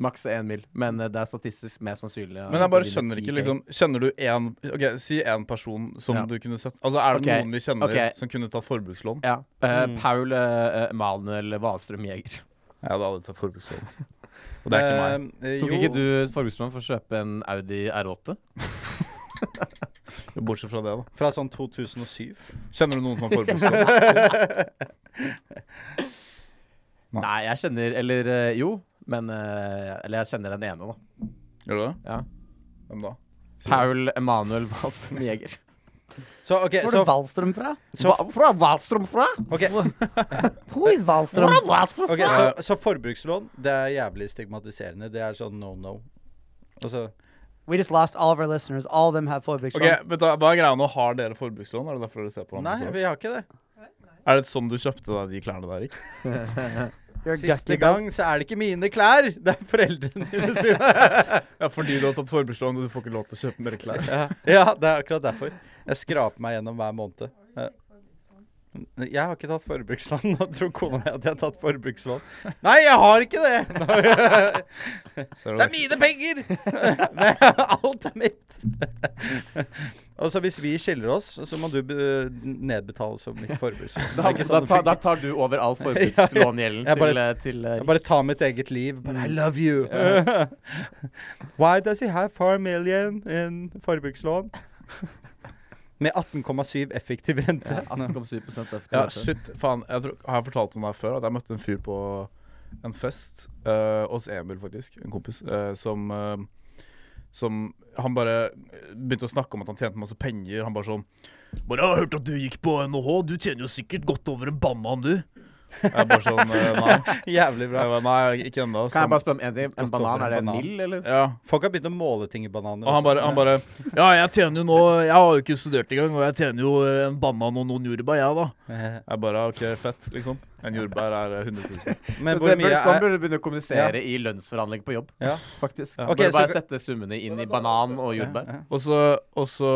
Speaker 3: Maks er en mil, men eh, det er statistisk mer sannsynlig.
Speaker 1: Men jeg bare skjønner ikke, liksom Kjenner du én Ok, si én person som
Speaker 3: Ja.
Speaker 1: du kunne sett Altså, er det
Speaker 3: Ok,
Speaker 1: noen vi kjenner
Speaker 3: ok.
Speaker 1: som kunne tatt forbrukslån?
Speaker 3: Ja. eh, Paul eh, Manuel Wahlstrøm Jæger.
Speaker 1: Jeg hadde aldri tatt forbrukslån. altså. Og det er ikke meg.
Speaker 2: Eh,
Speaker 3: Tok
Speaker 2: jo.
Speaker 3: ikke du et forbrukslån for å kjøpe en Audi R8?
Speaker 1: Eh, Bortsett fra det, da.
Speaker 2: Fra sånn 2007.
Speaker 1: Kjenner du noen som har forbrukslån? [LAUGHS] Nei.
Speaker 3: Nei, jeg kjenner Eller eh, jo, men eh, Eller jeg kjenner den ene, da.
Speaker 1: Gjør du det?
Speaker 3: Ja.
Speaker 1: Hvem da? Si det.
Speaker 3: Paul Emanuel Wahlstrøm Jæger.
Speaker 2: Så OK,
Speaker 4: Hvor er
Speaker 2: så
Speaker 4: det Wallstrøm fra?
Speaker 3: Hva- Fra Wahlstrøm fra?
Speaker 2: ok.
Speaker 4: Who is Wallstrøm?
Speaker 3: Fra Wahlstrøm
Speaker 2: Ok,
Speaker 3: fra?
Speaker 2: så, så forbrukslån, det er jævlig stigmatiserende. Det er sånn no no. Altså,
Speaker 4: We just lost all of our listeners. All of them have forbrukslån.
Speaker 1: Ok, vet du, hva- Hva er greia nå? Har dere forbrukslån? Er det derfor dere ser på
Speaker 2: nei,
Speaker 1: hverandre?
Speaker 2: vi har ikke det.
Speaker 1: så? Er det sånn du kjøpte deg de klærne der, ikke?
Speaker 4: You're a
Speaker 2: Siste
Speaker 4: gucky belt.
Speaker 2: gang så er det ikke mine klær, det er foreldrene mine sine.
Speaker 1: Ja, fordi du har tatt forbrukslån, og du får ikke lov til å kjøpe mer klær.
Speaker 2: ja, ja, det er akkurat derfor. Jeg skraper meg gjennom hver måned. Ja. Jeg har ikke tatt forbrukslån. Da tror kona mi at jeg har tatt forbrukslån. Nei, jeg har ikke det!
Speaker 1: Ser du
Speaker 2: Det er mine penger! Nei, Alt er mitt. Altså, hvis vi skiller oss, så må du be- nedbetale som mitt forbrukslån. Det
Speaker 3: Da,
Speaker 2: er ikke
Speaker 3: da,
Speaker 2: sånn det
Speaker 3: ta, da
Speaker 2: funker.
Speaker 3: tar du over all [LAUGHS] forbrukslångjelden
Speaker 2: Jeg bare-
Speaker 3: til, eh, til eh,
Speaker 2: Jeg bare tar mitt eget liv. But I
Speaker 3: Mm.
Speaker 2: love you. [LAUGHS] Why does he have four million in
Speaker 3: [LAUGHS]
Speaker 2: forbrukslån? Med 18,7 effektiv rente.
Speaker 3: 18,7 efter
Speaker 1: Ja,
Speaker 3: dette.
Speaker 1: shit, faen. Jeg tror, har jeg fortalt om det her før? At jeg møtte en fyr på en fest eh, hos Emil, faktisk. En kompis. eh, som eh, som Han bare begynte å snakke om at han tjente masse penger. Han bare sånn bare, 'Jeg har hørt at du gikk på NHH. Du tjener jo sikkert godt over en banan, du.' Jeg bare sånn eh, Nei,
Speaker 2: [LAUGHS] Jævlig bra.
Speaker 1: jeg bare, nei ikke ennå.
Speaker 3: Kan jeg bare spørre om en ting? En
Speaker 2: Godt over
Speaker 3: banan,
Speaker 2: en
Speaker 3: er det en
Speaker 2: banan.
Speaker 3: mild, eller?
Speaker 1: ja,
Speaker 2: Folk har begynt å måle ting i
Speaker 1: og
Speaker 2: bananer.
Speaker 1: han
Speaker 2: også. [LAUGHS]
Speaker 1: bare, han bare Ja, jeg tjener jo nå Jeg har jo ikke studert engang, og jeg tjener jo eh, en banan og noen jordbær, jeg, da. Jeg bare OK, fett, liksom. En jordbær er eh, 100 000.
Speaker 2: Men hvor
Speaker 3: Det
Speaker 2: mye
Speaker 3: bør, sånn
Speaker 2: er
Speaker 3: burde du begynne å kommunisere i lønnsforhandling på jobb,
Speaker 2: [LAUGHS] Ja.
Speaker 3: faktisk.
Speaker 2: Ok,
Speaker 3: burde bare
Speaker 2: så-
Speaker 3: sette summene inn i banan og jordbær.
Speaker 1: Og så, og så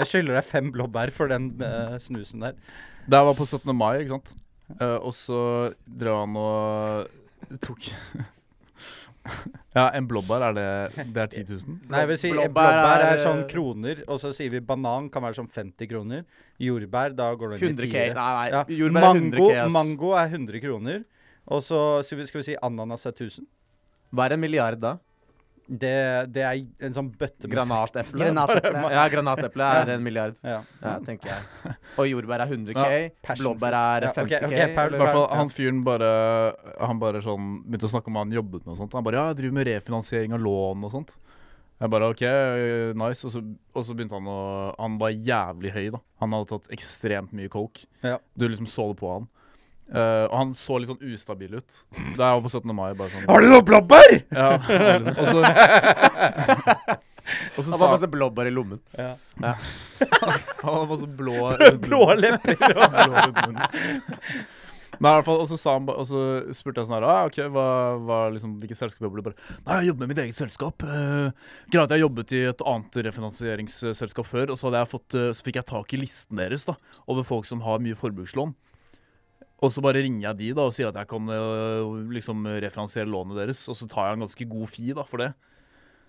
Speaker 2: Jeg skylder deg fem blåbær for den eh, snusen der.
Speaker 1: Det her var på 17. mai, ikke sant? Eh, og så drev han og tok [LAUGHS] Ja, en blåbær, er det Det er 10 000?
Speaker 2: Nei, jeg vil si
Speaker 3: Blåbær
Speaker 2: blåbær, blåbær
Speaker 3: er,
Speaker 2: er sånn
Speaker 3: eh,
Speaker 2: kroner, og så sier vi banan kan være sånn 50 kroner. Jordbær, da går det inn
Speaker 3: 100 K.
Speaker 2: i tiere.
Speaker 3: Nei, nei.
Speaker 2: Ja.
Speaker 3: Jordbær er 100
Speaker 2: mango,
Speaker 3: K. ass.
Speaker 2: mango er 100 kroner. Og så skal vi, skal vi si ananas er 1000.
Speaker 3: Hva er en milliard da?
Speaker 2: Det, det er en sånn bøtte med
Speaker 3: Granateple?
Speaker 4: Granateple.
Speaker 3: Ja, granateple er en milliard.
Speaker 2: Ja.
Speaker 3: Ja, tenker [LAUGHS] jeg. Og jordbær er 100 K.
Speaker 2: passion
Speaker 3: Blåbær er
Speaker 2: Ja, ok,
Speaker 3: 50 K.
Speaker 2: ok, Paul,
Speaker 1: I
Speaker 3: eller-
Speaker 1: hvert fall,
Speaker 2: Ja.
Speaker 1: han fyren bare Han bare sånn begynte å snakke om hva han jobbet med og sånt. Han bare ja, jeg driver med refinansiering av lån og sånt. Jeg bare OK, nice. Og så, og så begynte han å Han var jævlig høy, da. Han hadde tatt ekstremt mye coke.
Speaker 2: Ja.
Speaker 1: Du liksom så det på han. Eh, og han så litt sånn ustabil ut. Det her var på 17. mai. Bare sånn
Speaker 2: Har du noe blåbær?!
Speaker 1: Ja, [LAUGHS] liksom.
Speaker 3: [LAUGHS]
Speaker 1: Og så Og så
Speaker 3: Han
Speaker 1: sa
Speaker 3: har masse blåbær i lommen.
Speaker 1: [LAUGHS] han hadde masse blå
Speaker 2: Blå lepper!
Speaker 1: Nei, i hvert fall, og så, sa han, ba- og så spurte jeg sånn her ah, ok, hva, hva liksom, Hvilket selskap jobber du bare Nei, jeg jobber med mitt eget selskap. Eh, greit, jeg jobbet i et annet refinansieringsselskap før, og så, hadde jeg fått, eh, så fikk jeg tak i listen deres da, over folk som har mye forbrukslån. Og så bare ringer jeg de da, og sier at jeg kan eh, liksom refinansiere lånet deres, og så tar jeg en ganske god fi da, for det.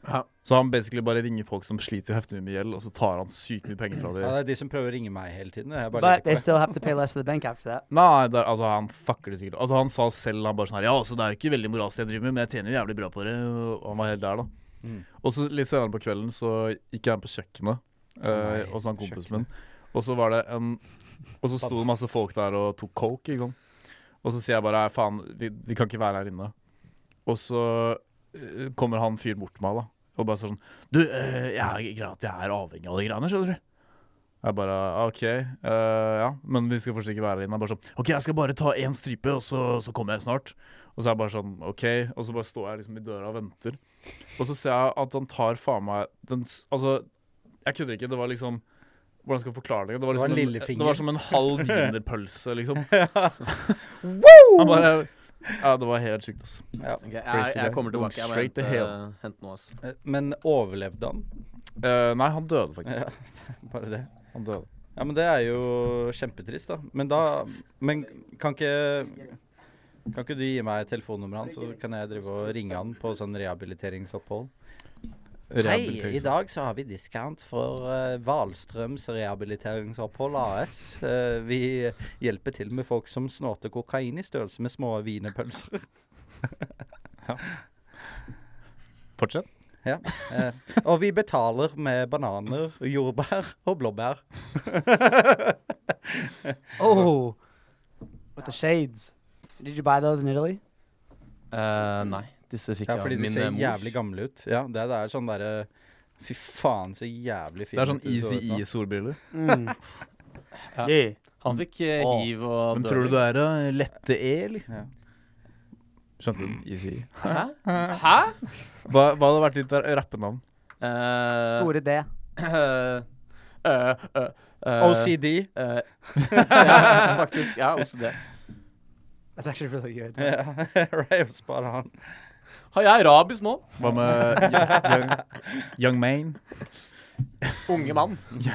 Speaker 3: Ja.
Speaker 1: Så han basically bare ringer folk som sliter heftig mye med gjeld, og så tar han sykt mye penger fra dem.
Speaker 2: Ja, det er de som prøver å ringe meg hele tiden. Jeg bare
Speaker 4: But
Speaker 2: lurer på
Speaker 4: they
Speaker 2: det.
Speaker 4: still have to pay less to the bank after that.
Speaker 1: Nei, det er- altså han fucker det sikkert. Altså Han sa selv han bare sånn her Ja, altså det er jo ikke veldig moralsk jeg driver med, men jeg tjener jo jævlig bra på det. Og han var helt der, da. Og så litt senere på kvelden så gikk jeg inn på kjøkkenet eh, hos han kompisen min. Og så var det en Og så sto det masse folk der og tok coke, ikke sant. Og så sier jeg bare «Nei, faen, vi, vi kan ikke være her inne. Og så eh, kommer han fyren bort til meg, da. Og bare sier sånn Du, eh, jeg er greit at jeg er avhengig av de greiene, skjønner du. Jeg bare «Ah, OK, eh, ja, men vi skal fortsatt ikke være her inne. Jeg bare sånn OK, jeg skal bare ta én stripe, og så, så kommer jeg snart. Og så er jeg bare sånn OK. Og så bare står jeg liksom i døra og venter. Og så ser jeg at han tar faen meg den s- Altså, jeg kødder ikke. Det var liksom hvordan skal jeg forklare det? Det var,
Speaker 2: Det var
Speaker 1: liksom
Speaker 2: en
Speaker 1: en,
Speaker 2: lillefinger.
Speaker 1: det var som en halv wienerpølse,
Speaker 2: [LAUGHS]
Speaker 1: liksom. Han bare Ja, det var helt sjukt, altså.
Speaker 3: Ok, jeg, jeg kommer
Speaker 1: Going
Speaker 3: tilbake. Jeg må
Speaker 1: straight to
Speaker 3: hente,
Speaker 1: hell.
Speaker 3: hente noe. altså. ass.
Speaker 2: Men overlevde han?
Speaker 1: Eh, nei, han døde faktisk.
Speaker 2: Bare det.
Speaker 1: Han døde.
Speaker 2: Ja, men det er jo kjempetrist, da. Men da Men kan ikke Kan ikke du gi meg telefonnummeret hans, så kan jeg drive og ringe han på sånn rehabiliteringsopphold? Hei, i dag så har vi discount for eh, Valstrøms rehabiliteringsopphold AS. Eh, vi hjelper til med folk som snorter kokain i størrelse med små
Speaker 1: [LAUGHS]
Speaker 2: wienerpølser.
Speaker 1: Fortsett.
Speaker 2: ja. eh, og vi betaler med bananer, jordbær og blåbær.
Speaker 4: [LAUGHS] Oh, with the shades. Did you buy those in Italy?
Speaker 3: Eh, nei, disse fikk
Speaker 2: Ja,
Speaker 3: jeg av
Speaker 2: fordi de
Speaker 3: min
Speaker 2: ser
Speaker 3: eh, mor.
Speaker 2: jævlig gamle ut. Ja, det, det er sånn derre Fy faen, så jævlig fint
Speaker 1: Det er sånn easy-e-solbriller.
Speaker 4: [LAUGHS] Mm.
Speaker 3: Ja.
Speaker 4: yeah.
Speaker 3: Han fikk eh,
Speaker 1: Åh.
Speaker 3: hiv og
Speaker 1: Hvem tror du du er, da? Lette E, eller?
Speaker 2: Ja.
Speaker 1: Skjønte du den? Easy. E.
Speaker 3: Hæ? Hæ?
Speaker 1: Hva, hva hadde vært ditt der- rappenavn?
Speaker 3: Eh,
Speaker 4: Store det.
Speaker 3: [LAUGHS] eh, eh, eh, eh,
Speaker 2: OCD.
Speaker 3: eh, ja, faktisk. Ja, OCD.
Speaker 4: That's actually really good.
Speaker 2: [LAUGHS] Ja, right, spot on.
Speaker 3: Har jeg rabies nå?
Speaker 1: Hva med Young, young Man?
Speaker 3: Unge mann. [LAUGHS]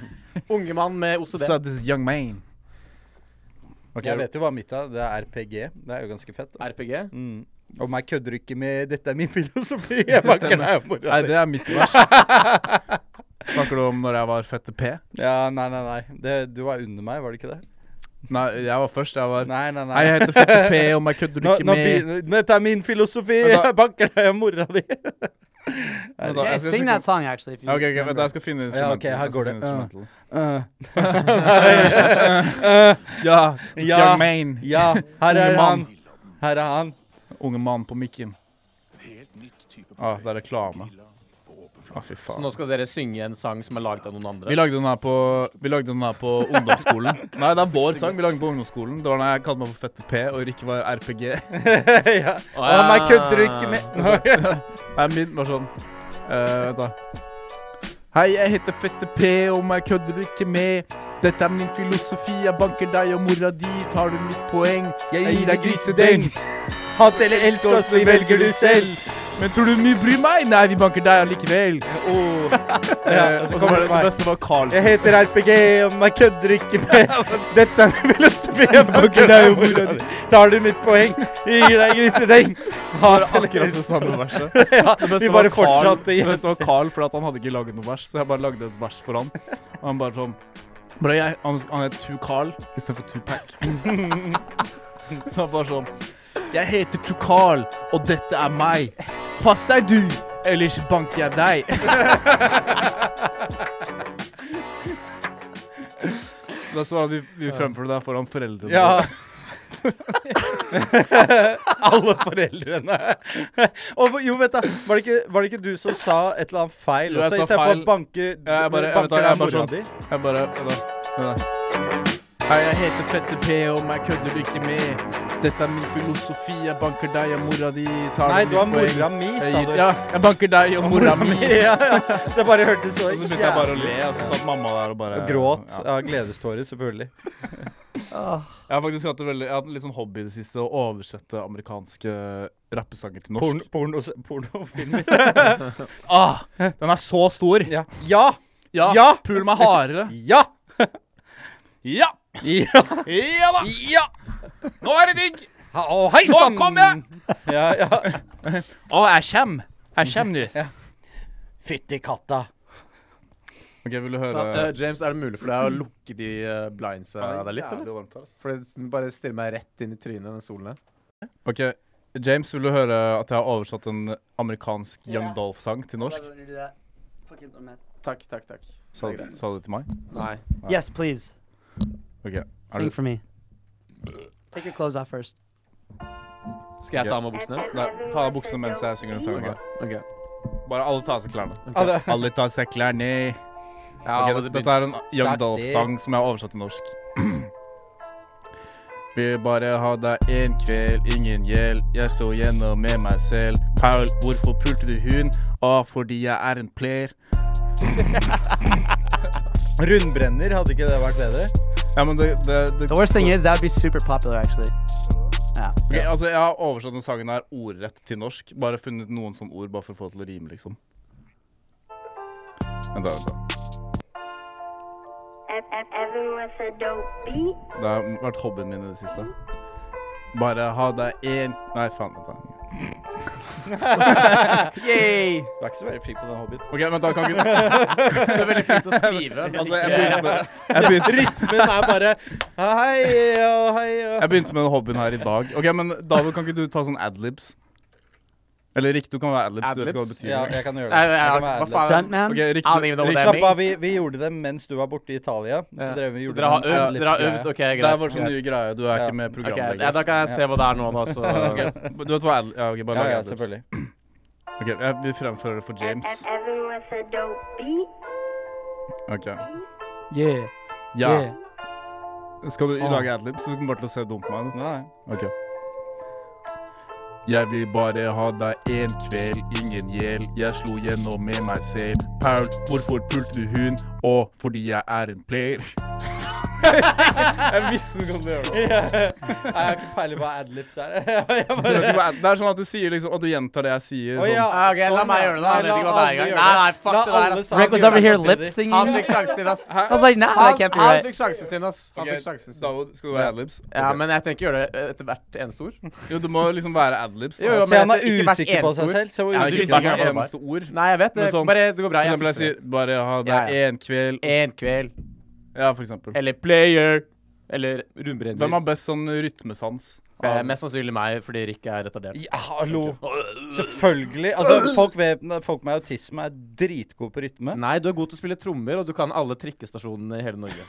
Speaker 3: Unge mann med OCD.
Speaker 1: So this is Young Man. Ok,
Speaker 2: Jeg vet jo hva mitt er. Det er RPG. Det er jo ganske fett. Da.
Speaker 3: RPG.
Speaker 2: Mm. Og meg kødder ikke med 'dette er min [LAUGHS] filosofi'. Jeg bare kødder med
Speaker 1: Nei,
Speaker 2: mora di.
Speaker 1: det er mitt
Speaker 2: [LAUGHS]
Speaker 1: vers. Snakker du om når jeg var fette P?
Speaker 2: Ja, nei, nei, nei. Det, du var under meg, var det ikke det?
Speaker 1: Nei, jeg var først. Jeg var Nei,
Speaker 2: Nei, nei, nei.
Speaker 1: jeg heter fette P, og meg kødder du
Speaker 2: nå,
Speaker 1: ikke
Speaker 2: nå
Speaker 1: med
Speaker 2: begynner- Dette er min filosofi!
Speaker 1: Men da-
Speaker 2: Jeg banker deg av mora
Speaker 1: [LAUGHS]
Speaker 2: di!
Speaker 1: Vent da,
Speaker 4: Yeah,
Speaker 1: jeg skal
Speaker 4: sing
Speaker 1: sjekke-
Speaker 4: that song actually. If you
Speaker 1: Ja, Ok, ok, vent,
Speaker 4: remember.
Speaker 1: da, jeg skal finne
Speaker 2: Ja, ok,
Speaker 1: instrumentet.
Speaker 2: her går det. Uh.
Speaker 1: Ja, it's
Speaker 2: [LAUGHS] Ja.
Speaker 1: Young Man.
Speaker 2: Ja, her
Speaker 1: Unge
Speaker 2: er han.
Speaker 1: mann.
Speaker 2: Her er han. [LAUGHS]
Speaker 1: Unge mann på mikken. Ah, det er reklame. Å, fy
Speaker 3: Så
Speaker 1: faen.
Speaker 3: nå skal dere synge en sang som er laget av noen andre?
Speaker 1: Vi lagde den her på, vi lagde den her på
Speaker 2: [LAUGHS]
Speaker 1: ungdomsskolen. Nei, det er vår sang. Vi lagde den på ungdomsskolen. Det var da jeg kalte meg for Fette P, og Rikke var RPG.
Speaker 2: ja. Å, nei, kødder du ikke med
Speaker 1: [LAUGHS] Nei, min var sånn eh, Vent, da. Hei, jeg heter Fette P, og meg kødder du ikke med. Dette er min filosofi, jeg banker deg og mora di. Tar du mitt poeng? Jeg gir deg grisedeng.
Speaker 2: Hat eller elsk oss, vi velger du selv.
Speaker 1: Men tror du mye bryr meg? Nei, vi banker deg allikevel.
Speaker 2: Åh.
Speaker 1: Eh,
Speaker 2: og
Speaker 1: og
Speaker 2: så
Speaker 1: så
Speaker 2: kommer
Speaker 1: var det
Speaker 2: det meg.
Speaker 1: det beste var
Speaker 2: Jeg
Speaker 1: Carlsen.
Speaker 2: heter RPG, og meg kødder ikke
Speaker 1: [LAUGHS]
Speaker 2: med. Dette er min filosofi, jeg banker deg jo mora di. Tar du mitt poeng, vi gir deg grisedeng.
Speaker 1: Det
Speaker 2: Hat
Speaker 1: var
Speaker 2: eller
Speaker 1: akkurat
Speaker 2: elsk
Speaker 1: det samme verset.
Speaker 2: [LAUGHS] Ja,
Speaker 1: Det beste
Speaker 2: vi bare
Speaker 1: var Carl-
Speaker 2: fortsatte
Speaker 1: Det
Speaker 2: i
Speaker 1: beste var Carl, for at han hadde ikke laget noe vers, så jeg bare lagde et vers for han. Og han bare sånn bare jeg, Han, han het Tu Carl istedenfor Tupac. [LAUGHS] så han bare sånn Jeg heter Tu Carl, og dette er meg. Pass deg, du, ellers banker jeg deg. Da så var det at vi, vi fremførte det foran foreldrene.
Speaker 2: Ja. [LAUGHS] Alle foreldrene. [LAUGHS] Og jo, vet du, var, det ikke- var det ikke du som sa et eller annet feil?
Speaker 1: Jo, jeg
Speaker 2: Også,
Speaker 1: sa
Speaker 2: I stedet for
Speaker 1: feil.
Speaker 2: å banke,
Speaker 1: Ja, jeg bare- jeg vet
Speaker 2: banke
Speaker 1: da, jeg
Speaker 2: deg
Speaker 1: bare
Speaker 2: mora
Speaker 1: sånn-
Speaker 2: di.
Speaker 1: Jeg bare vent da, vent da. Hei, jeg heter Fette P, og meg kødder du ikke med. Dette er min filosofi, jeg banker deg og mora di. Tar
Speaker 2: Nei,
Speaker 1: du
Speaker 2: du har
Speaker 1: mitt poeng.
Speaker 2: mora mi,
Speaker 1: Jeg
Speaker 2: sa
Speaker 1: gir-
Speaker 2: du.
Speaker 1: Ja, jeg banker deg og mora mi. [LAUGHS]
Speaker 2: [LAUGHS] Ja, ja. Det bare hørtes så
Speaker 1: Og så begynte jeg bare å le, og så satt mamma der og bare
Speaker 2: Og gråt
Speaker 1: Ja.
Speaker 2: av gledestårer, selvfølgelig.
Speaker 1: Jeg har faktisk hatt, en veldig, jeg har hatt en litt sånn hobby i det siste, å oversette amerikanske rappesanger til norsk.
Speaker 2: Porno, porno, pornofilmer.
Speaker 1: Ah, den er så stor!
Speaker 2: Ja. Ja!
Speaker 1: Ja!
Speaker 2: Ja!
Speaker 1: Pul meg hardere.
Speaker 2: Ja!
Speaker 1: [LAUGHS] Ja!
Speaker 2: Ja!
Speaker 1: Ja da!
Speaker 2: ja.
Speaker 1: Nå er det digg!
Speaker 2: Ha- Å, hei sann!
Speaker 1: Nå kom jeg!
Speaker 2: Ja, ja.
Speaker 1: Å, jeg kjem. Jeg kjem nå.
Speaker 2: Fytti katta.
Speaker 1: Ok, vil du
Speaker 3: Faen,
Speaker 1: høre
Speaker 3: eh, James, er det mulig for deg å lukke de eh, blindsa deg litt, eller?
Speaker 1: Jævlig varmt her, altså.
Speaker 3: For det bare stiller meg rett inn i trynet, den solen her.
Speaker 1: Ok, James, vil du høre at jeg har oversatt en amerikansk Young
Speaker 4: Ja.
Speaker 1: Dolph-sang til norsk?
Speaker 4: Why would you do that? Fucking dumbass.
Speaker 3: Takk, takk, takk.
Speaker 1: Sa,
Speaker 3: Det er greit.
Speaker 1: sa du det til meg?
Speaker 3: Nei.
Speaker 4: Yes, please.
Speaker 1: Ok, er
Speaker 4: Sing
Speaker 1: du,
Speaker 4: for me. Take your clothes off first.
Speaker 3: Skal jeg ta av meg buksene?
Speaker 1: nei, ta av buksene mens jeg synger den sangen. her.
Speaker 3: OK. [LAUGHS]
Speaker 1: Bare alle tar av seg klærne.
Speaker 2: Ja, det-
Speaker 1: Alle tar av seg klærne.
Speaker 3: Ja,
Speaker 1: Ok, det-
Speaker 3: men det
Speaker 1: dette er en Young
Speaker 2: Sakte.
Speaker 1: Dolph-sang som jeg har oversatt til norsk. [CLEARS THROAT] Vil bare ha deg en kveld, ingen gjeld. Jeg står gjennom med meg selv. Paul, hvorfor pulte du hun? Ah, fordi jeg er en player.
Speaker 2: Rundbrenner, hadde ikke det vært bedre?
Speaker 1: Ja, men det, det, det
Speaker 4: The worst thing is that would be super popular actually. Yeah.
Speaker 1: Ok, altså Jeg har oversatt den sangen her ordrett til norsk. Bare funnet noen sånne ord bare for å få det til å rime, liksom. Vent, da. vent da.
Speaker 9: Ev- ev- Evan was a dope beat.
Speaker 1: Det har vært hobbyen min i det siste. Bare ha deg én Nei, faen. Vent, da.
Speaker 2: Du er ikke så veldig fri på den hobbyen.
Speaker 1: OK, vent, da.
Speaker 2: [LAUGHS]
Speaker 1: Kan ikke
Speaker 3: Du er veldig flink til å [LAUGHS] skrive.
Speaker 1: Altså, jeg begynte med, jeg begynte,
Speaker 2: Men det er bare hei og hei og
Speaker 1: jeg begynte med den hobbyen her i dag. OK, men David, kan ikke du ta sånn adlibs? Eller Rick, du kan være adlibs. Du vet ikke hva det betyr.
Speaker 2: Ja, jeg kan gjøre
Speaker 3: Nei,
Speaker 2: det.
Speaker 3: nei,
Speaker 2: Jeg kan
Speaker 3: hva
Speaker 2: være ærlig.
Speaker 3: faen?
Speaker 4: Stuntman?
Speaker 1: Ok, Rick,
Speaker 3: I don't
Speaker 1: du,
Speaker 3: even know what
Speaker 1: Rick,
Speaker 3: that
Speaker 2: Slapp
Speaker 3: means.
Speaker 2: av, vi, vi gjorde det mens du var borte i Italia. Så drev vi
Speaker 3: Så
Speaker 2: gjorde
Speaker 3: dere har
Speaker 2: den
Speaker 3: øvd? Dere har
Speaker 2: litt-
Speaker 3: øvd? OK, greit.
Speaker 1: det er vår sånn nye greie. Du er
Speaker 2: Ja.
Speaker 1: ikke med
Speaker 3: Ok,
Speaker 1: programlegger.
Speaker 3: ja, Da kan jeg se hva det er nå, da. Så
Speaker 1: Ok,
Speaker 3: [LAUGHS]
Speaker 1: Du vet hva adlibs Ja, ok, bare
Speaker 2: Ja,
Speaker 1: lag
Speaker 2: ja,
Speaker 1: adlibs.
Speaker 2: selvfølgelig.
Speaker 1: Ok, jeg vil fremføre det for
Speaker 9: Ev-
Speaker 1: James.
Speaker 9: ev- Evan was a dope
Speaker 1: [LAUGHS]
Speaker 9: beat.
Speaker 1: Ok.
Speaker 4: Yeah.
Speaker 1: Ja.
Speaker 4: Yeah.
Speaker 1: Skal du lage adlibs, så du kommer bare til å se dum på meg. nå.
Speaker 2: Nei.
Speaker 1: Ok. Jeg vil bare ha deg en kveld, ingen gjeld. Jeg slo gjennom med meg selv. Paul, hvorfor pulte du hun? Og fordi jeg er en player.
Speaker 2: Jeg visste du kom til å gjøre det. Nei, [LAUGHS] Jeg har ikke peiling på hva adlibs er. [LAUGHS] Jeg
Speaker 1: Det
Speaker 2: bare
Speaker 1: er sånn at [LAUGHS] du sier liksom, og du gjentar det jeg sier.
Speaker 2: Å, ja,
Speaker 1: Sånn.
Speaker 3: Ah, ok, la
Speaker 2: sånn,
Speaker 3: meg
Speaker 2: ja.
Speaker 3: gjøre det, da.
Speaker 2: Nei,
Speaker 3: Jeg vet ikke
Speaker 2: la
Speaker 3: hva det er
Speaker 2: alle
Speaker 3: engang.
Speaker 2: gjøre
Speaker 3: Nei, nei, fuck
Speaker 2: La
Speaker 3: det der, altså.
Speaker 2: alle
Speaker 3: ass.
Speaker 2: sammen
Speaker 4: Rick was
Speaker 2: gjøre
Speaker 4: over here
Speaker 2: det samtidig.
Speaker 4: lip singing.
Speaker 3: Han fikk
Speaker 4: I
Speaker 3: sjansen sin, ass.
Speaker 4: was like, nah, that
Speaker 3: Han,
Speaker 4: can't be
Speaker 3: han
Speaker 4: right.
Speaker 3: fikk sjansen sin, ass. Han
Speaker 1: Ok,
Speaker 3: fikk sjansen sin.
Speaker 1: David, skal du være adlibs?
Speaker 3: Ja,
Speaker 1: Ok.
Speaker 3: men jeg tenker gjøre det etter hvert eneste ord.
Speaker 1: Jo, du må liksom være adlibs. da.
Speaker 3: Jo, jo,
Speaker 2: Se, han er
Speaker 3: Ikke hvert
Speaker 2: usikker på
Speaker 3: eneste
Speaker 2: seg
Speaker 3: ord.
Speaker 2: selv. Se hvor
Speaker 3: Ja,
Speaker 1: du visste
Speaker 3: du
Speaker 2: usikker
Speaker 3: visste
Speaker 2: han
Speaker 1: ikke
Speaker 3: ikke
Speaker 1: hvert
Speaker 3: hva
Speaker 1: eneste ord.
Speaker 3: Nei, jeg vet det.
Speaker 1: Men sånn-
Speaker 3: bare, det går bra.
Speaker 1: For
Speaker 3: Jeg
Speaker 1: eksempel, jeg
Speaker 3: fikser
Speaker 1: sier bare ha
Speaker 3: Ja,
Speaker 1: deg
Speaker 3: ja.
Speaker 1: en kveld.
Speaker 3: det. En kveld.
Speaker 1: Ja, for eksempel.
Speaker 3: Eller player. Eller rundbrenner.
Speaker 1: Hvem har best sånn rytmesans?
Speaker 3: Eh, Mest sannsynlig meg, fordi Rick er retardert.
Speaker 2: Ja, hallo. Selvfølgelig. Altså, folk, ved, folk med autisme er dritgode på rytme.
Speaker 3: Nei, du er god til å spille trommer, og du kan alle trikkestasjonene i hele Norge.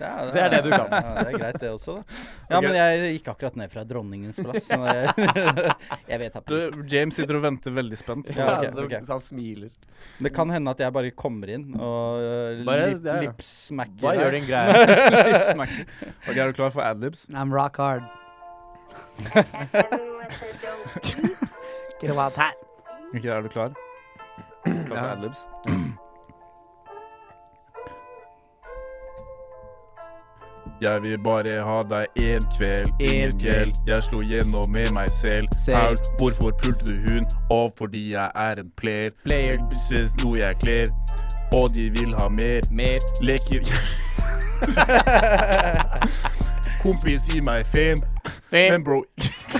Speaker 2: Ja,
Speaker 3: Det er det du kan.
Speaker 2: Ja, det er greit, det også, da. Ja, men jeg gikk akkurat ned fra Dronningens plass. Så jeg, [LAUGHS] jeg vet at
Speaker 1: Du, James sitter og venter veldig spent.
Speaker 2: Ja, ok,
Speaker 3: så,
Speaker 2: ok.
Speaker 3: så han smiler.
Speaker 2: Det kan hende at jeg bare kommer inn og øh,
Speaker 3: Bare-
Speaker 2: lip,
Speaker 3: ja, ja.
Speaker 2: lipsmacker
Speaker 3: Bare
Speaker 2: deg.
Speaker 3: gjør din greie. [LAUGHS]
Speaker 1: Ok, Er du klar for adlibs?
Speaker 4: I'm rock hard.
Speaker 9: Everyone said dope B.
Speaker 4: Get a wild hat.
Speaker 1: Ok, er du klar? Klar for adlibs? Jeg vil bare ha deg en kveld,
Speaker 3: En
Speaker 1: ingen kveld. Jeg slo gjennom med meg selv.
Speaker 3: Selv.
Speaker 1: Paul, hvorfor pulte du hun? Og fordi jeg er en player.
Speaker 3: Player.
Speaker 1: Synes noe jeg kler. Og de vil ha mer.
Speaker 3: Mer.
Speaker 1: Leker Kompis, gi meg fame. Men bro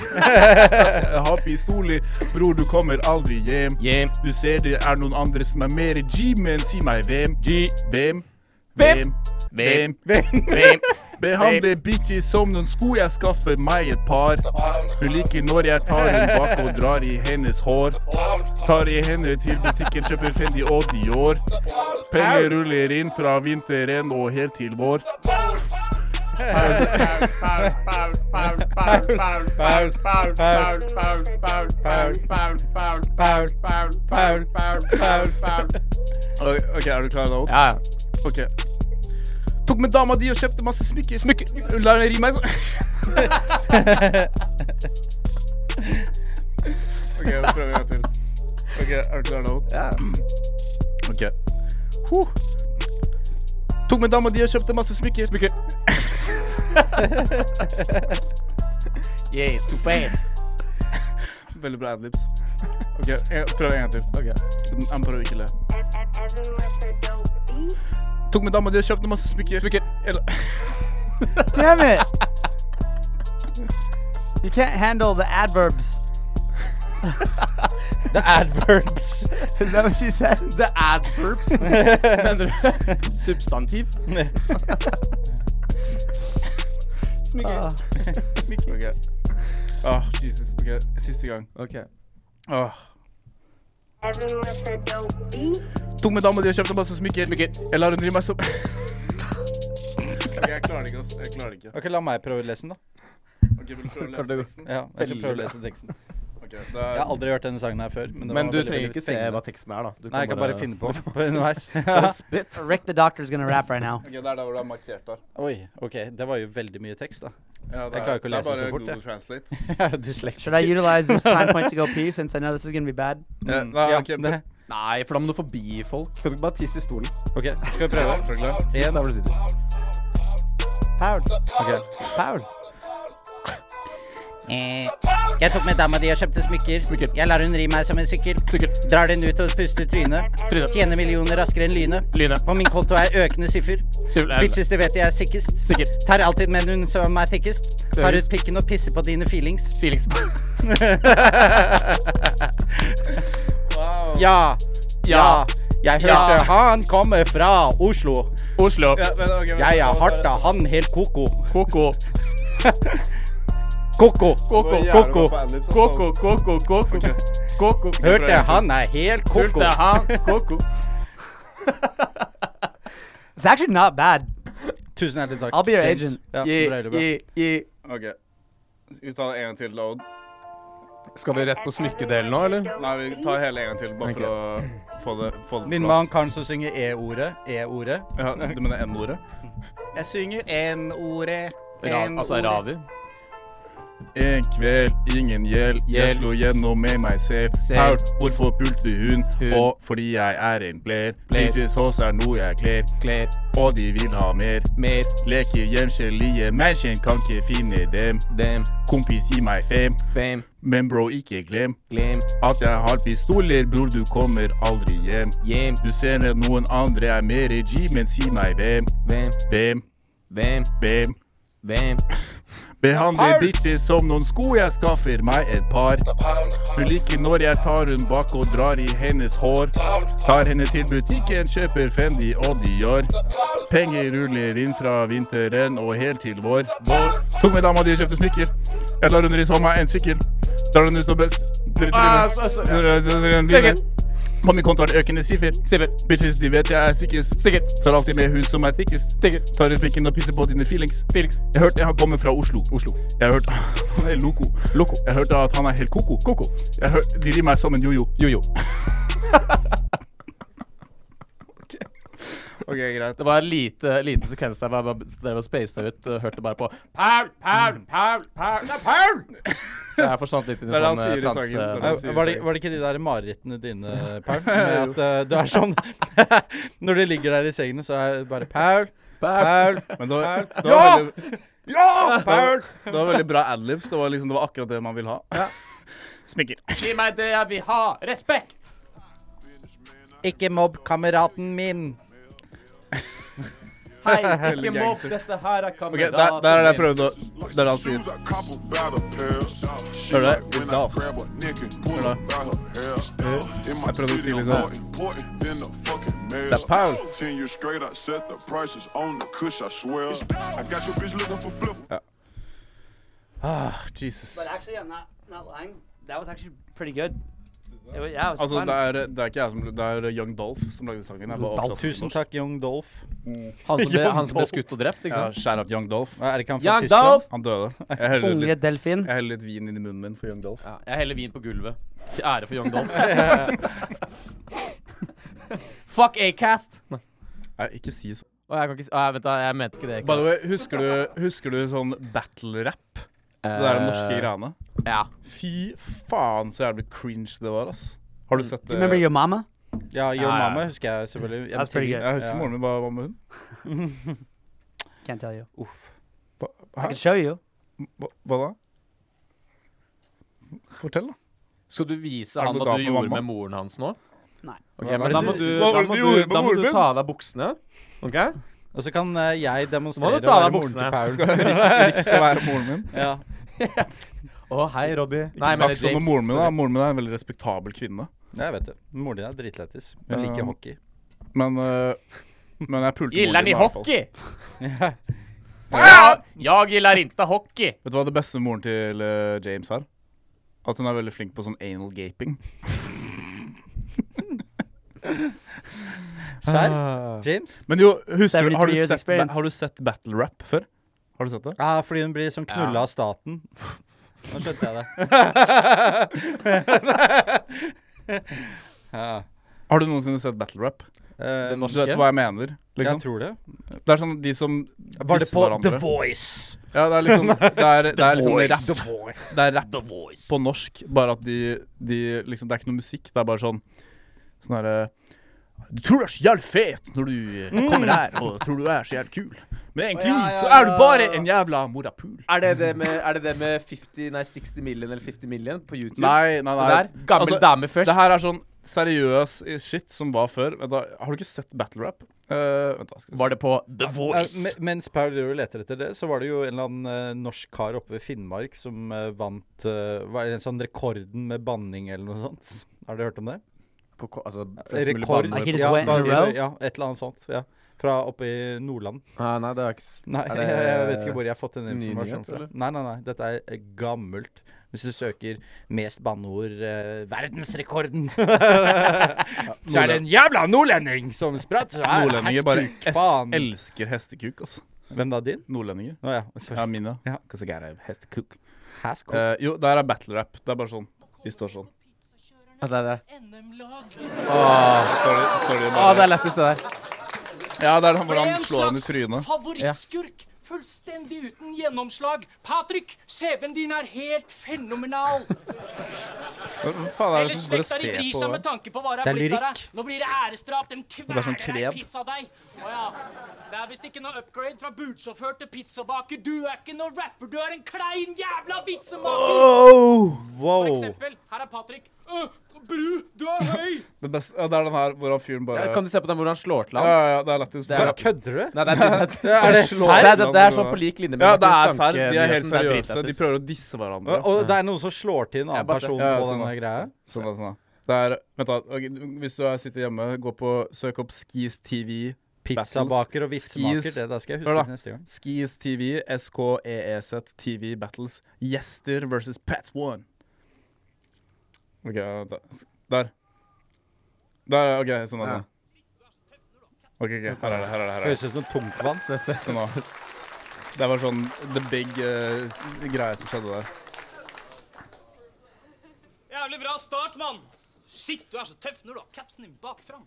Speaker 1: [LAUGHS] Jeg har pistoler, bror, du kommer aldri hjem.
Speaker 3: Hjem.
Speaker 1: Du ser det er noen andre som er mer i G, men si meg hvem. G. Hvem?
Speaker 3: Hvem?
Speaker 1: Hvem? Behandle bitches som noen sko, jeg skaffer meg et par. Hun liker når jeg tar hun bak og drar i hennes hår. Tar i henne til butikken, kjøper Fendi og Dior. Penger ruller inn fra vinteren og helt til vår. OK, er du klar nå?
Speaker 3: Ja, ja.
Speaker 1: Ok Tok med dama di og kjøpte masse smykker. Smykker. Hun lar henne ri
Speaker 2: [LAUGHS]
Speaker 1: meg sånn. OK, da prøver vi en gang til. OK, er du klar nå? Ja. OK. Huh. Tok med dama di og kjøpte masse smykker. Smykker.
Speaker 3: Yeah, it's too fast.
Speaker 1: Veldig bra adlibs. OK, jeg prøver en gang til.
Speaker 3: Ok.
Speaker 1: Jeg prøver ikke å le.
Speaker 9: Everyone said dope B.
Speaker 1: Tok med dama di og kjøpte masse smykker. Smykker. Eller [LAUGHS]
Speaker 4: Damn it! You can't handle the adverbs.
Speaker 2: The adverbs.
Speaker 4: Is that what she said?
Speaker 3: The
Speaker 4: [LAUGHS]
Speaker 3: adverbs. Mener du substantiv?
Speaker 1: Smykker. Smykker. OK. Åh, Jesus. OK, siste gang.
Speaker 3: Ok.
Speaker 1: Åh
Speaker 9: Everyone said dope B.
Speaker 1: Tok med dama di og kjøpte masse smykker. Jeg lar hun drive meg som Jeg klarer det ikke, ass. Jeg klarer det ikke.
Speaker 2: [LAUGHS] Ok, La meg prøve å lese den, da.
Speaker 1: Ok, vil du prøve å lese
Speaker 3: Kan du gå-
Speaker 1: teksten?
Speaker 2: Ja, jeg skal
Speaker 3: Veldig
Speaker 2: prøve å
Speaker 3: bra.
Speaker 2: lese teksten.
Speaker 1: Ok, det er
Speaker 2: Jeg har aldri hørt denne sangen her før. Men, det
Speaker 3: Men
Speaker 2: var
Speaker 3: du
Speaker 2: veldig,
Speaker 3: trenger
Speaker 2: veldig
Speaker 3: ikke se
Speaker 2: fengende.
Speaker 3: hva teksten er, da. Du
Speaker 2: Nei, jeg kan bare finne på på underveis.
Speaker 3: [LAUGHS] Bare spytt.
Speaker 4: Rick the Doctor's gonna rap right now.
Speaker 1: Ok, det er der hvor det er markert der.
Speaker 2: [LAUGHS] Oi, OK. Det var jo veldig mye
Speaker 7: [LAUGHS]
Speaker 2: tekst, da.
Speaker 1: Ja, det
Speaker 2: Jeg klarer ikke å
Speaker 1: det er
Speaker 2: lese så
Speaker 1: bare
Speaker 2: fort, jeg.
Speaker 1: Google Translate.
Speaker 2: Jeg er dyslektiker.
Speaker 4: Should I utilize this time point to go pee since I know this is gonna be bad?
Speaker 1: Ja,
Speaker 2: Mm,
Speaker 1: nei, Eh,
Speaker 2: ja,
Speaker 1: ok,
Speaker 2: det-
Speaker 3: Nei, for da må du forbi folk. Kan du ikke bare tisse i stolen?
Speaker 2: OK, skal vi prøve?
Speaker 1: Prøve.
Speaker 3: Én der hvor du sitter.
Speaker 4: Powered.
Speaker 2: Ok.
Speaker 4: Powered.
Speaker 7: Eh, Jeg tok med dama di og kjøpte smykker. Jeg lar hun ri meg som en sykkel. Drar den ut og puster trynet. Tjener millioner raskere enn lynet. På min konto er økende siffer. Bitches, det vet jeg er sikkest. Tar alltid med hun som er thickest. Tar ut pikken og pisser på dine feelings. Ja, ja. Jeg hørte han kommer fra Oslo.
Speaker 1: Oslo. Ja, men, ok, men,
Speaker 7: Jeg er hardt av han helt koko. Koko. [LAUGHS] Koko, koko, koko.
Speaker 1: Koko, koko, koko. Koko.
Speaker 7: Hørte han er helt koko.
Speaker 1: Hørte
Speaker 7: [LAUGHS]
Speaker 1: han. Koko.
Speaker 4: It's actually not bad.
Speaker 2: Tusen hjertelig takk.
Speaker 4: I'll be your
Speaker 2: James.
Speaker 4: agent.
Speaker 2: Ja,
Speaker 3: Gi,
Speaker 2: veldig bra.
Speaker 3: gi, gi.
Speaker 1: Ok. Skal vi ta en gang til, da, Odd?
Speaker 3: Skal vi rett på smykkedelen nå, eller?
Speaker 1: Nei, vi tar hele en gang til, bare for å få det, få det på
Speaker 2: Min
Speaker 1: plass.
Speaker 2: mann kan så synge E-ordet. E-ordet.
Speaker 1: Ja, du mener N-ordet?
Speaker 5: Jeg synger N-ordet.
Speaker 3: Ra altså Ravi.
Speaker 1: En kveld, ingen gjeld. Jeg
Speaker 3: Gjeld.
Speaker 1: slo gjennom med meg selv.
Speaker 3: Selv.
Speaker 1: Paul, hvorfor pulte hun?
Speaker 3: Hun.
Speaker 1: Og fordi jeg er en player.
Speaker 3: Player.
Speaker 1: Bitches hos er noe jeg kler.
Speaker 3: Kler.
Speaker 1: Og de vil ha mer.
Speaker 3: Mer.
Speaker 1: Leker gjenkjellige mennesker, kan ikke finne dem.
Speaker 3: Dem.
Speaker 1: Kompis, gi meg fem.
Speaker 3: Fame.
Speaker 1: Men bro, ikke glem
Speaker 3: Glem.
Speaker 1: at jeg har pistoler, bror, du kommer aldri hjem.
Speaker 3: Hjem.
Speaker 1: Du ser at noen andre er mer i G, men si meg hvem.
Speaker 3: Hvem.
Speaker 1: Hvem?
Speaker 3: Hvem.
Speaker 1: Hvem?
Speaker 3: Hvem.
Speaker 1: Behandler bitches som noen sko, jeg skaffer meg et par. Hun liker når jeg tar hun bak og drar i hennes hår. Tar henne til butikken, kjøper Fendi og Dior. Penger ruller inn fra vinteren og helt til vår. vår. Tok med dama di og kjøpte smykker. Jeg lar hun ri som meg en sykkel. Drar den ut og bøst. På min konto er det økende siffer. Bitches, de vet jeg er sikkest. Tar alltid med hun som er thickest. Tar ut pikken og pisser på dine feelings. Jeg hørte han kommer fra Oslo. Oslo. Jeg hørte [LAUGHS] Han er loco. Loco. Jeg hørte at han er helt koko. Koko. Jeg hørte De rir meg som en jojo. [LAUGHS] Jojo.
Speaker 5: OK, greit.
Speaker 3: Det var en lite, liten sekvens der hvor jeg bare drev og spacet ut. og Hørte bare på
Speaker 1: Paul, Paul, Paul, Paul. Det er Paul!
Speaker 3: Så jeg forsvant litt inn
Speaker 1: [LAUGHS]
Speaker 3: i
Speaker 1: Det er det han
Speaker 3: sånn
Speaker 1: sier i
Speaker 3: eh, transe.
Speaker 1: sangen. Det er det han sier.
Speaker 2: Eh, Var det, var det ikke de der marerittene dine,
Speaker 1: [LAUGHS]
Speaker 2: Paul? Med at eh, du er sånn [LAUGHS] Når du ligger der i sengen, så er det bare Paul, Paul,
Speaker 1: Men det var, det var
Speaker 2: Ja!
Speaker 1: veldig,
Speaker 2: Ja! Paul!
Speaker 1: det var veldig bra adlibs. Det, var liksom, det var akkurat det man vil ha. Smikker.
Speaker 5: Gi meg det jeg vil ha. Respekt!
Speaker 2: Ikke mobb kameraten min.
Speaker 5: [LAUGHS] Hei,
Speaker 2: [LAUGHS]
Speaker 1: Veldig
Speaker 5: ikke mobb.
Speaker 1: gangster.
Speaker 5: Dette her er
Speaker 1: Ok, der, der er det jeg prøvde å Det er det han sier.
Speaker 10: Hør det. It's down. Hør det. Jeg prøvde å si litt sånn
Speaker 1: liksom,
Speaker 10: Det er Paul.
Speaker 1: Ja. Ah, Jesus.
Speaker 4: But actually, I'm not not lying. That was actually pretty good. It was, yeah, it was
Speaker 1: Altså,
Speaker 4: fun.
Speaker 1: det er, det er ikke jeg som Det er Young Dolph som lagde sangen. Jeg bare oversatte til
Speaker 2: Tusen
Speaker 1: norsk.
Speaker 2: takk, Young Dolph.
Speaker 3: Han [LAUGHS] som ble, han som ble skutt og drept, ikke
Speaker 1: Ja,
Speaker 3: sant?
Speaker 1: Shout out Young Dolph.
Speaker 2: Hva Er det ikke han fra
Speaker 3: Young
Speaker 2: Tyskland?
Speaker 3: Dolph!
Speaker 1: Han døde. Jeg heller
Speaker 4: Unge
Speaker 1: litt,
Speaker 4: delfin.
Speaker 1: jeg heller litt vin inn i munnen min for Young Dolph.
Speaker 3: Ja, jeg heller vin på gulvet. Til ære for Young [LAUGHS] Dolph. Fuck Acast! Nei,
Speaker 1: Nei, ikke si så
Speaker 3: Å, jeg kan ikke si Å, jeg- Vent, da. Jeg mente ikke det.
Speaker 1: By the
Speaker 3: Acast.
Speaker 1: way, husker du, husker du sånn battle-rap? Det der norske greiene?
Speaker 3: Eh, Ja.
Speaker 1: Fy faen så jævlig cringe det var, ass. Har du sett eh,
Speaker 4: Do you remember
Speaker 1: det?
Speaker 4: your mama?
Speaker 2: Ja, Yo
Speaker 1: Ja, ja.
Speaker 2: Mama husker jeg selvfølgelig. Jeg
Speaker 4: That's pretty
Speaker 2: betyr-
Speaker 4: good.
Speaker 1: Jeg husker
Speaker 2: Ja.
Speaker 1: moren min bare var med hun.
Speaker 4: Can't tell you. I
Speaker 1: Hæ?
Speaker 4: can show you.
Speaker 1: Hva, hva da? Fortell, da.
Speaker 3: Skal du vise
Speaker 1: Er det
Speaker 3: han
Speaker 1: noe
Speaker 3: hva
Speaker 1: da
Speaker 3: du
Speaker 1: for
Speaker 3: gjorde
Speaker 1: mamma?
Speaker 3: med moren hans nå?
Speaker 4: Nei.
Speaker 3: Ok,
Speaker 2: Hva var
Speaker 3: men
Speaker 2: det
Speaker 3: da
Speaker 2: du-
Speaker 3: må du,
Speaker 1: hva
Speaker 3: da
Speaker 1: var det
Speaker 3: må
Speaker 1: du
Speaker 3: du,
Speaker 1: gjorde med
Speaker 3: da må
Speaker 1: moren
Speaker 3: du
Speaker 1: min?
Speaker 3: ta av deg buksene. OK?
Speaker 2: Og så kan eh, jeg
Speaker 3: Må du
Speaker 2: demonstrere
Speaker 3: ta av deg
Speaker 2: å være moren til
Speaker 3: buksene?
Speaker 2: Paul.
Speaker 1: Rick skal være moren min.
Speaker 2: Ja.
Speaker 3: [LAUGHS] Å, hei, Robbie.
Speaker 1: [LAUGHS] Nei,
Speaker 3: men
Speaker 1: Snakk sånn om moren min. da Moren min er en veldig respektabel kvinne.
Speaker 2: Ja, Jeg vet det. Moren din er dritlættis. Hun
Speaker 1: Ja.
Speaker 2: liker hockey.
Speaker 1: Men, øh, men jeg pulte moren
Speaker 5: Gillar ni
Speaker 1: i hvert fall.
Speaker 3: [LAUGHS]
Speaker 5: hockey?
Speaker 3: Ah!
Speaker 5: Ja. Jag gillar inte hockey.
Speaker 1: Vet du hva det beste med moren til øh, James er? At hun er veldig flink på sånn anal gaping.
Speaker 2: Serr? James?
Speaker 1: Men jo, husker du,
Speaker 4: 73
Speaker 1: har, du sett,
Speaker 4: years
Speaker 1: ba-
Speaker 4: experience.
Speaker 1: har du sett battle rap før? Har du sett det?
Speaker 2: Ja, fordi hun blir sånn knulla av staten. [LAUGHS] Nå skjønte jeg det. [LAUGHS] ja.
Speaker 1: Har du noensinne sett battle rap?
Speaker 2: Eh,
Speaker 1: Du vet hva jeg mener?
Speaker 2: jeg
Speaker 1: Liksom.
Speaker 2: tror det.
Speaker 1: Det er sånn de som
Speaker 2: Var det
Speaker 1: disser
Speaker 2: på The
Speaker 1: hverandre.
Speaker 2: Voice?
Speaker 1: Ja, det er
Speaker 3: [LAUGHS]
Speaker 1: liksom Det er, det er liksom
Speaker 5: The
Speaker 1: rap.
Speaker 5: Voice.
Speaker 1: Det er rap
Speaker 5: The Voice.
Speaker 1: på norsk, bare at de, de liksom, Det er ikke noe musikk, det er bare sånn Sånn herre Du tror du er så jævlig fet når du eh, kommer her og tror du er så jævlig kul, men egentlig
Speaker 3: Mm. ja, ja,
Speaker 1: så er du
Speaker 3: ja,
Speaker 1: bare
Speaker 3: ja.
Speaker 1: en jævla morapul.
Speaker 3: Er det det med, er det det med 50, nei, 60 million eller 50 million på YouTube?
Speaker 1: Nei, nei,
Speaker 3: Det der? Gammel
Speaker 1: Altså,
Speaker 3: dame først.
Speaker 1: Det her er sånn seriøs shit som var før. Vent da, Har du ikke sett battle rap? Eh, vent da, skal vi se.
Speaker 5: Var det på The Voice?
Speaker 2: Eh, me- mens Paul driver og leter etter det, så var det jo en eller annen eh, norsk kar oppe ved Finnmark som eh, vant eh, Var det en sånn rekorden med banning eller noe sånt? Har dere hørt om det?
Speaker 3: På, ko- altså, flest mulig
Speaker 2: Rekord
Speaker 3: baner.
Speaker 4: Like he just
Speaker 2: ja,
Speaker 4: went in a
Speaker 2: bare-
Speaker 4: row?
Speaker 2: ja, et eller annet sånt. Ja. Fra oppe i Nordland. [LAUGHS]
Speaker 3: Ah, nei, det er ikke s-
Speaker 2: Nei,
Speaker 3: er det-
Speaker 2: jeg vet ikke hvor jeg har fått den
Speaker 3: ny
Speaker 2: informasjonen
Speaker 3: nyhet,
Speaker 2: fra.
Speaker 3: eller?
Speaker 2: Nei, nei, nei, dette er eh, gammelt. Hvis du søker 'mest banneord eh, verdensrekorden', [LAUGHS] så er det en jævla nordlending som spratter her.
Speaker 1: Nordlendinger bare
Speaker 2: Hestkuk,
Speaker 1: es
Speaker 2: faen.
Speaker 1: elsker hestekuk, altså.
Speaker 2: Hvem da, din?
Speaker 1: Nordlendinger.
Speaker 2: Å ja. Sorry.
Speaker 1: Ja, mine.
Speaker 2: Ja.
Speaker 1: Cause I got a hestekuk.
Speaker 2: Haskell.
Speaker 1: Eh, jo, der er battle rap. Det er bare sånn. De står sånn.
Speaker 3: Ja, det er det.
Speaker 1: Står de, står de
Speaker 3: Å, det
Speaker 1: bare,
Speaker 3: er lettest, det der.
Speaker 1: ja, det er han hvor han slår han i trynet.
Speaker 11: favorittskurk. Fullstendig uten gjennomslag. Patrick, CV-en din er helt fenomenal.
Speaker 1: Hva faen er
Speaker 11: Hele
Speaker 1: det som bare
Speaker 11: slekta di
Speaker 1: ser
Speaker 11: vrir
Speaker 1: på
Speaker 11: seg med
Speaker 1: det?
Speaker 11: tanke på hva det
Speaker 2: Det
Speaker 11: er
Speaker 2: er
Speaker 11: blitt av deg.
Speaker 2: lyrikk.
Speaker 11: Nå blir det æresdrap. Den
Speaker 1: er sånn
Speaker 11: kveler deg
Speaker 1: krev.
Speaker 11: pizzadeig. Å ja. Det er visst ikke noe upgrade fra budsjåfør til pizzabaker. Du er ikke noe rapper, du er en klein jævla vitsemaker. For
Speaker 2: wow.
Speaker 11: eksempel, her er Patrick. Øh, bru, du er høy.
Speaker 1: Det, beste, ja, det er den her hvor han fyren bare
Speaker 3: Ja, Kan du se på den hvor han slår til
Speaker 1: ja,
Speaker 3: [LAUGHS] ham?
Speaker 1: ja, ja, det er lættis.
Speaker 3: Det er
Speaker 1: Ja,
Speaker 3: rap.
Speaker 2: Kødder du?
Speaker 3: Nei, det er, det, det,
Speaker 2: Er det
Speaker 3: slår- det, er- det, det er sånn på lik linje med
Speaker 1: Ja, det
Speaker 3: Martin
Speaker 1: er serr. De er helt
Speaker 3: Skanke-nyheten, det er
Speaker 1: seriøse. De
Speaker 3: dritlættis.
Speaker 1: prøver å disse hverandre.
Speaker 2: Og, og det er noen som slår til en
Speaker 3: Jeg
Speaker 2: annen
Speaker 3: bare ser-
Speaker 2: person
Speaker 1: Ja,
Speaker 2: på
Speaker 1: sånn
Speaker 2: denne
Speaker 1: da.
Speaker 2: greia?
Speaker 1: Sånn, da, sånn, da. Det er, vent da, ok, Hvis du er- sitter hjemme, gå på, søk opp Skis TV.
Speaker 2: Pizzabaker og vitsemaker,
Speaker 1: Skis.
Speaker 2: det der skal jeg
Speaker 1: Hør
Speaker 2: huske
Speaker 1: da.
Speaker 2: til neste gang.
Speaker 1: E Skis TV, SKEEZ TV Battles. Gjester versus Pats One. OK, vent da. Der. Der, OK. Sånn er det. OK, ok, her er det. her er det, her er det.
Speaker 2: Høres ut som tungtvann.
Speaker 1: Sånn, da. det var sånn the big eh, greie som skjedde der.
Speaker 11: Jævlig bra start, mann. Shit, du er så tøff når du har capsen din bakfram.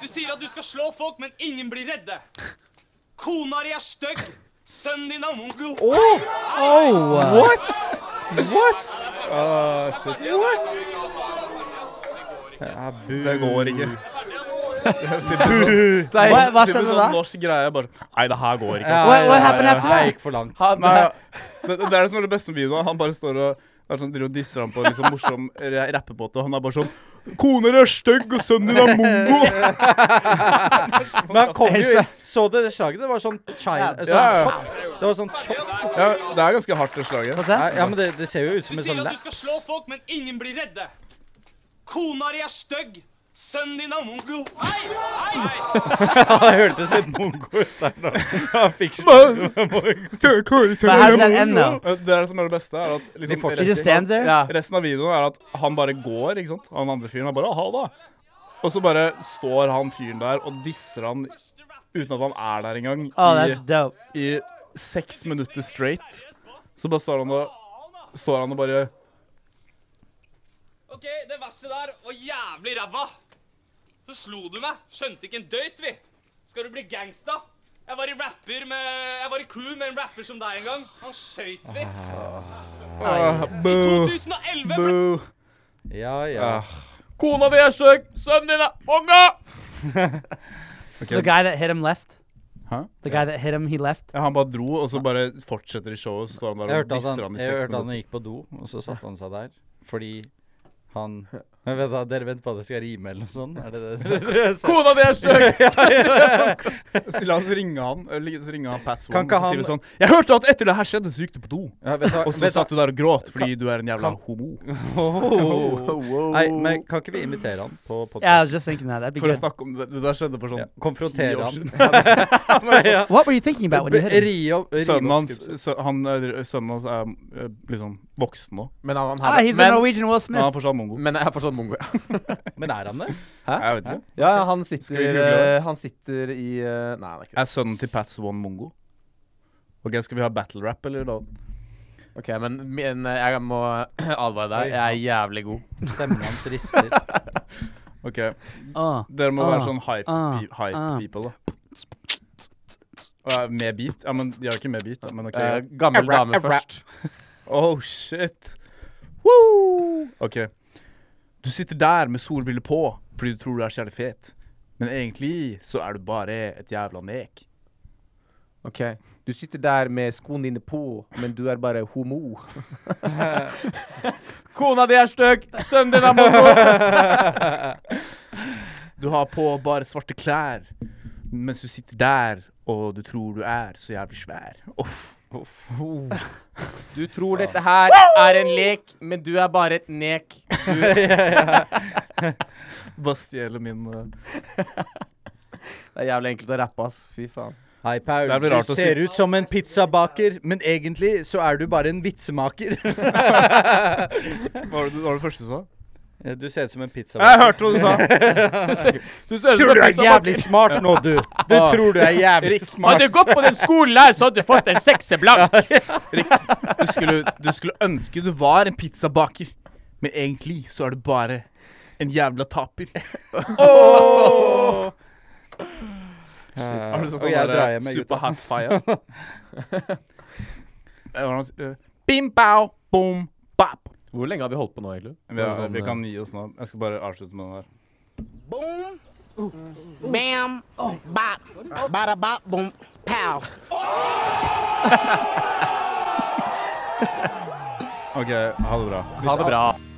Speaker 11: Du sier at du skal slå folk, men ingen blir redde. Kona di er stygg. Sønnen din er mongo.
Speaker 2: What?
Speaker 1: Ah, shit.
Speaker 2: Ja, bu.
Speaker 1: Det går ikke.
Speaker 2: Bu.
Speaker 4: Hva- hva skjedde
Speaker 1: sånn
Speaker 4: da?
Speaker 1: Norsk greie bare Nei, det her går ikke.
Speaker 2: Ja, What- what happened after that? Det gikk for langt.
Speaker 1: Han,
Speaker 2: Nei,
Speaker 1: nei, det, det er det som er det beste med videoen. Han bare står og det er sånn, driver og disser ham på en liksom, morsom ra- rappebåt, og han er bare sånn 'Kona di er stygg, og sønnen din er mongo'.
Speaker 2: Men han kom jo inn. Så du det slaget? Det var sånn china
Speaker 1: Ja,
Speaker 2: sånn
Speaker 1: ja.
Speaker 2: chop. Det var sånn chop.
Speaker 1: Ja, det er ganske hardt, det slaget.
Speaker 2: Nei, Ja, men det, det ser jo ut
Speaker 11: Du
Speaker 2: som en
Speaker 11: sier
Speaker 2: sånn
Speaker 11: at du
Speaker 2: [LAUGHS] lap.
Speaker 11: skal slå folk, men ingen blir redde. Kona di er stygg. Sønnen din er mongo. Hei, hei,
Speaker 2: Han hørtes litt mongo ut der nå. [LAUGHS] Han fikk
Speaker 1: Bare-
Speaker 4: But how does that end, though?
Speaker 1: Det er det som er det beste. Er at
Speaker 2: De
Speaker 1: liksom,
Speaker 2: fortsetter.
Speaker 4: He just stands there?
Speaker 1: Ja. Resten av videoen er at han bare går, ikke sant? Han andre fyren er bare 'ha det'. Og så bare står han fyren der og disser han uten at han er der engang.
Speaker 4: Oh,
Speaker 1: i-
Speaker 4: that's dope.
Speaker 1: I seks minutter straight. Så bare står han og Står han og bare
Speaker 11: OK, det verste der var jævlig ræva. Så slo du meg. Skjønte ikke en døyt, vi. Skal du bli gangsta? Jeg var i rapper med Jeg var i crew med en rapper som deg en gang. Han skøyt vi.
Speaker 1: ah,
Speaker 11: I
Speaker 1: boo,
Speaker 11: 2011 ble
Speaker 1: boo.
Speaker 2: Ja, ja.
Speaker 1: Ah. Kona di er stygg, sønnen din er mongo!
Speaker 4: So the guy that hit him left?
Speaker 1: Huh? Oh.
Speaker 4: The guy that hit him, he left?
Speaker 1: Ja, han bare dro, og så bare fortsetter i showet. Så står han
Speaker 2: Jeg
Speaker 1: der og
Speaker 2: hørte at
Speaker 1: disser
Speaker 2: han,
Speaker 1: han i
Speaker 2: jeg
Speaker 1: seks
Speaker 2: hørte han
Speaker 1: minutter.
Speaker 2: gikk på do, og så satte han seg der. Fordi han Men vent da, Dere venter på at jeg skal rime eller noe sånt? Er det det dere sa?
Speaker 1: Kona mi er
Speaker 2: [LAUGHS] stygg!
Speaker 1: Så la oss ringe han eller så ringer han Pat Swan
Speaker 2: Kan ikke
Speaker 1: og så sier
Speaker 2: han-
Speaker 1: vi sånn Jeg hørte at etter det her skjedde, så gikk du på do.
Speaker 2: Ja, vet du hva-
Speaker 1: og så
Speaker 2: vet du
Speaker 1: satt
Speaker 2: hva-
Speaker 1: du der og gråt fordi du er en jævla homo.
Speaker 2: Oh. Nei, men kan ikke vi invitere han på podcast?
Speaker 4: Yeah, I was just thinking that. That'd be
Speaker 1: For å
Speaker 4: good.
Speaker 1: snakke om det. Det der skjedde for sånn
Speaker 2: Konfrontere
Speaker 1: ti år
Speaker 2: han. [LAUGHS]
Speaker 1: siden.
Speaker 4: [LAUGHS]
Speaker 2: Ja.
Speaker 4: What were you thinking about when you hit him?
Speaker 2: Ri opp, ri
Speaker 1: Sønnen
Speaker 2: opp
Speaker 1: hans, sø, han, er- sønnen hans er eh, liksom voksen nå.
Speaker 3: Men han, han
Speaker 4: Ah, he's the Norwegian Will Smith.
Speaker 1: Men han er fortsatt mongo.
Speaker 3: Men jeg er fortsatt mongo. ja.
Speaker 2: skriften. Men er han det?
Speaker 1: Jeg vet ikke.
Speaker 3: Ja, ja, han
Speaker 1: vi
Speaker 3: sitter,
Speaker 1: google det?
Speaker 3: eh, han sitter i eh, Nei, han er ikke det.
Speaker 1: Er sønnen til Pat Swan mongo? Ok, Skal vi ha battle rap, eller? da?
Speaker 3: Ok, men min, eh, jeg må [CLEARS THROAT] advare deg. Jeg er jævlig god.
Speaker 2: Stemmen hans rister.
Speaker 1: Ok,
Speaker 4: Ah,
Speaker 1: Dere må
Speaker 4: ah,
Speaker 1: være sånn hype,
Speaker 4: ah,
Speaker 1: pe- hype
Speaker 4: ah.
Speaker 1: people, da. Og er Med beat? Ja, men De har ikke med beat. da, Men ok.
Speaker 3: Eh, gammel dame først.
Speaker 1: Oh shit. Woo! OK. Du sitter der med solbriller på fordi du tror du er så jævlig fet, men egentlig så er du bare et jævla nek.
Speaker 3: Ok. Du sitter der med skoene dine på, men du er bare homo.
Speaker 1: [LAUGHS]
Speaker 3: Kona di er stygg! Sønnen din er
Speaker 1: [LAUGHS] Du har på bare svarte klær mens du sitter der og du tror du er så jævlig svær. Uff.
Speaker 3: Du tror
Speaker 1: [LAUGHS]
Speaker 3: dette her er en lek, men du er bare et nek. Du,
Speaker 1: Bare stjeler min uh,
Speaker 3: det er jævlig enkelt å rappe, ass. Fy faen.
Speaker 2: Hei, Paul.
Speaker 1: Det er vel rart
Speaker 2: du
Speaker 1: å si-
Speaker 2: ser ut som en pizzabaker, men egentlig så er du bare en vitsemaker. [LAUGHS]
Speaker 1: Hva var det du- hva var det første du sa?
Speaker 2: Du ser ut som en
Speaker 1: Jeg
Speaker 2: pizzabaker.
Speaker 1: hørte hva du sa. Du ser
Speaker 2: Tror du er jævlig smart nå, du. Du
Speaker 1: Ah.
Speaker 2: tror du er jævlig smart.
Speaker 1: gått på den skolen her, så hadde du fått en sekser blank. Du skulle, du skulle ønske du var en pizzabaker, men egentlig så er du bare en jævla taper. Har du sett
Speaker 2: Og jeg
Speaker 1: den
Speaker 2: drar
Speaker 1: derre
Speaker 2: hjem med gutta.
Speaker 1: superhot fire? Eh, hvordan s- eh, Bim, bau, boom, bap.
Speaker 3: Hvor lenge har vi holdt på nå, egentlig? sånn, eh,
Speaker 1: Vi, er- vi kan gi oss nå. Jeg skal bare avslutte med den der.
Speaker 5: Boom. Bam. Bop. Bada bop. Boom. Pow.
Speaker 1: OK, ha det bra.
Speaker 3: Ha det bra.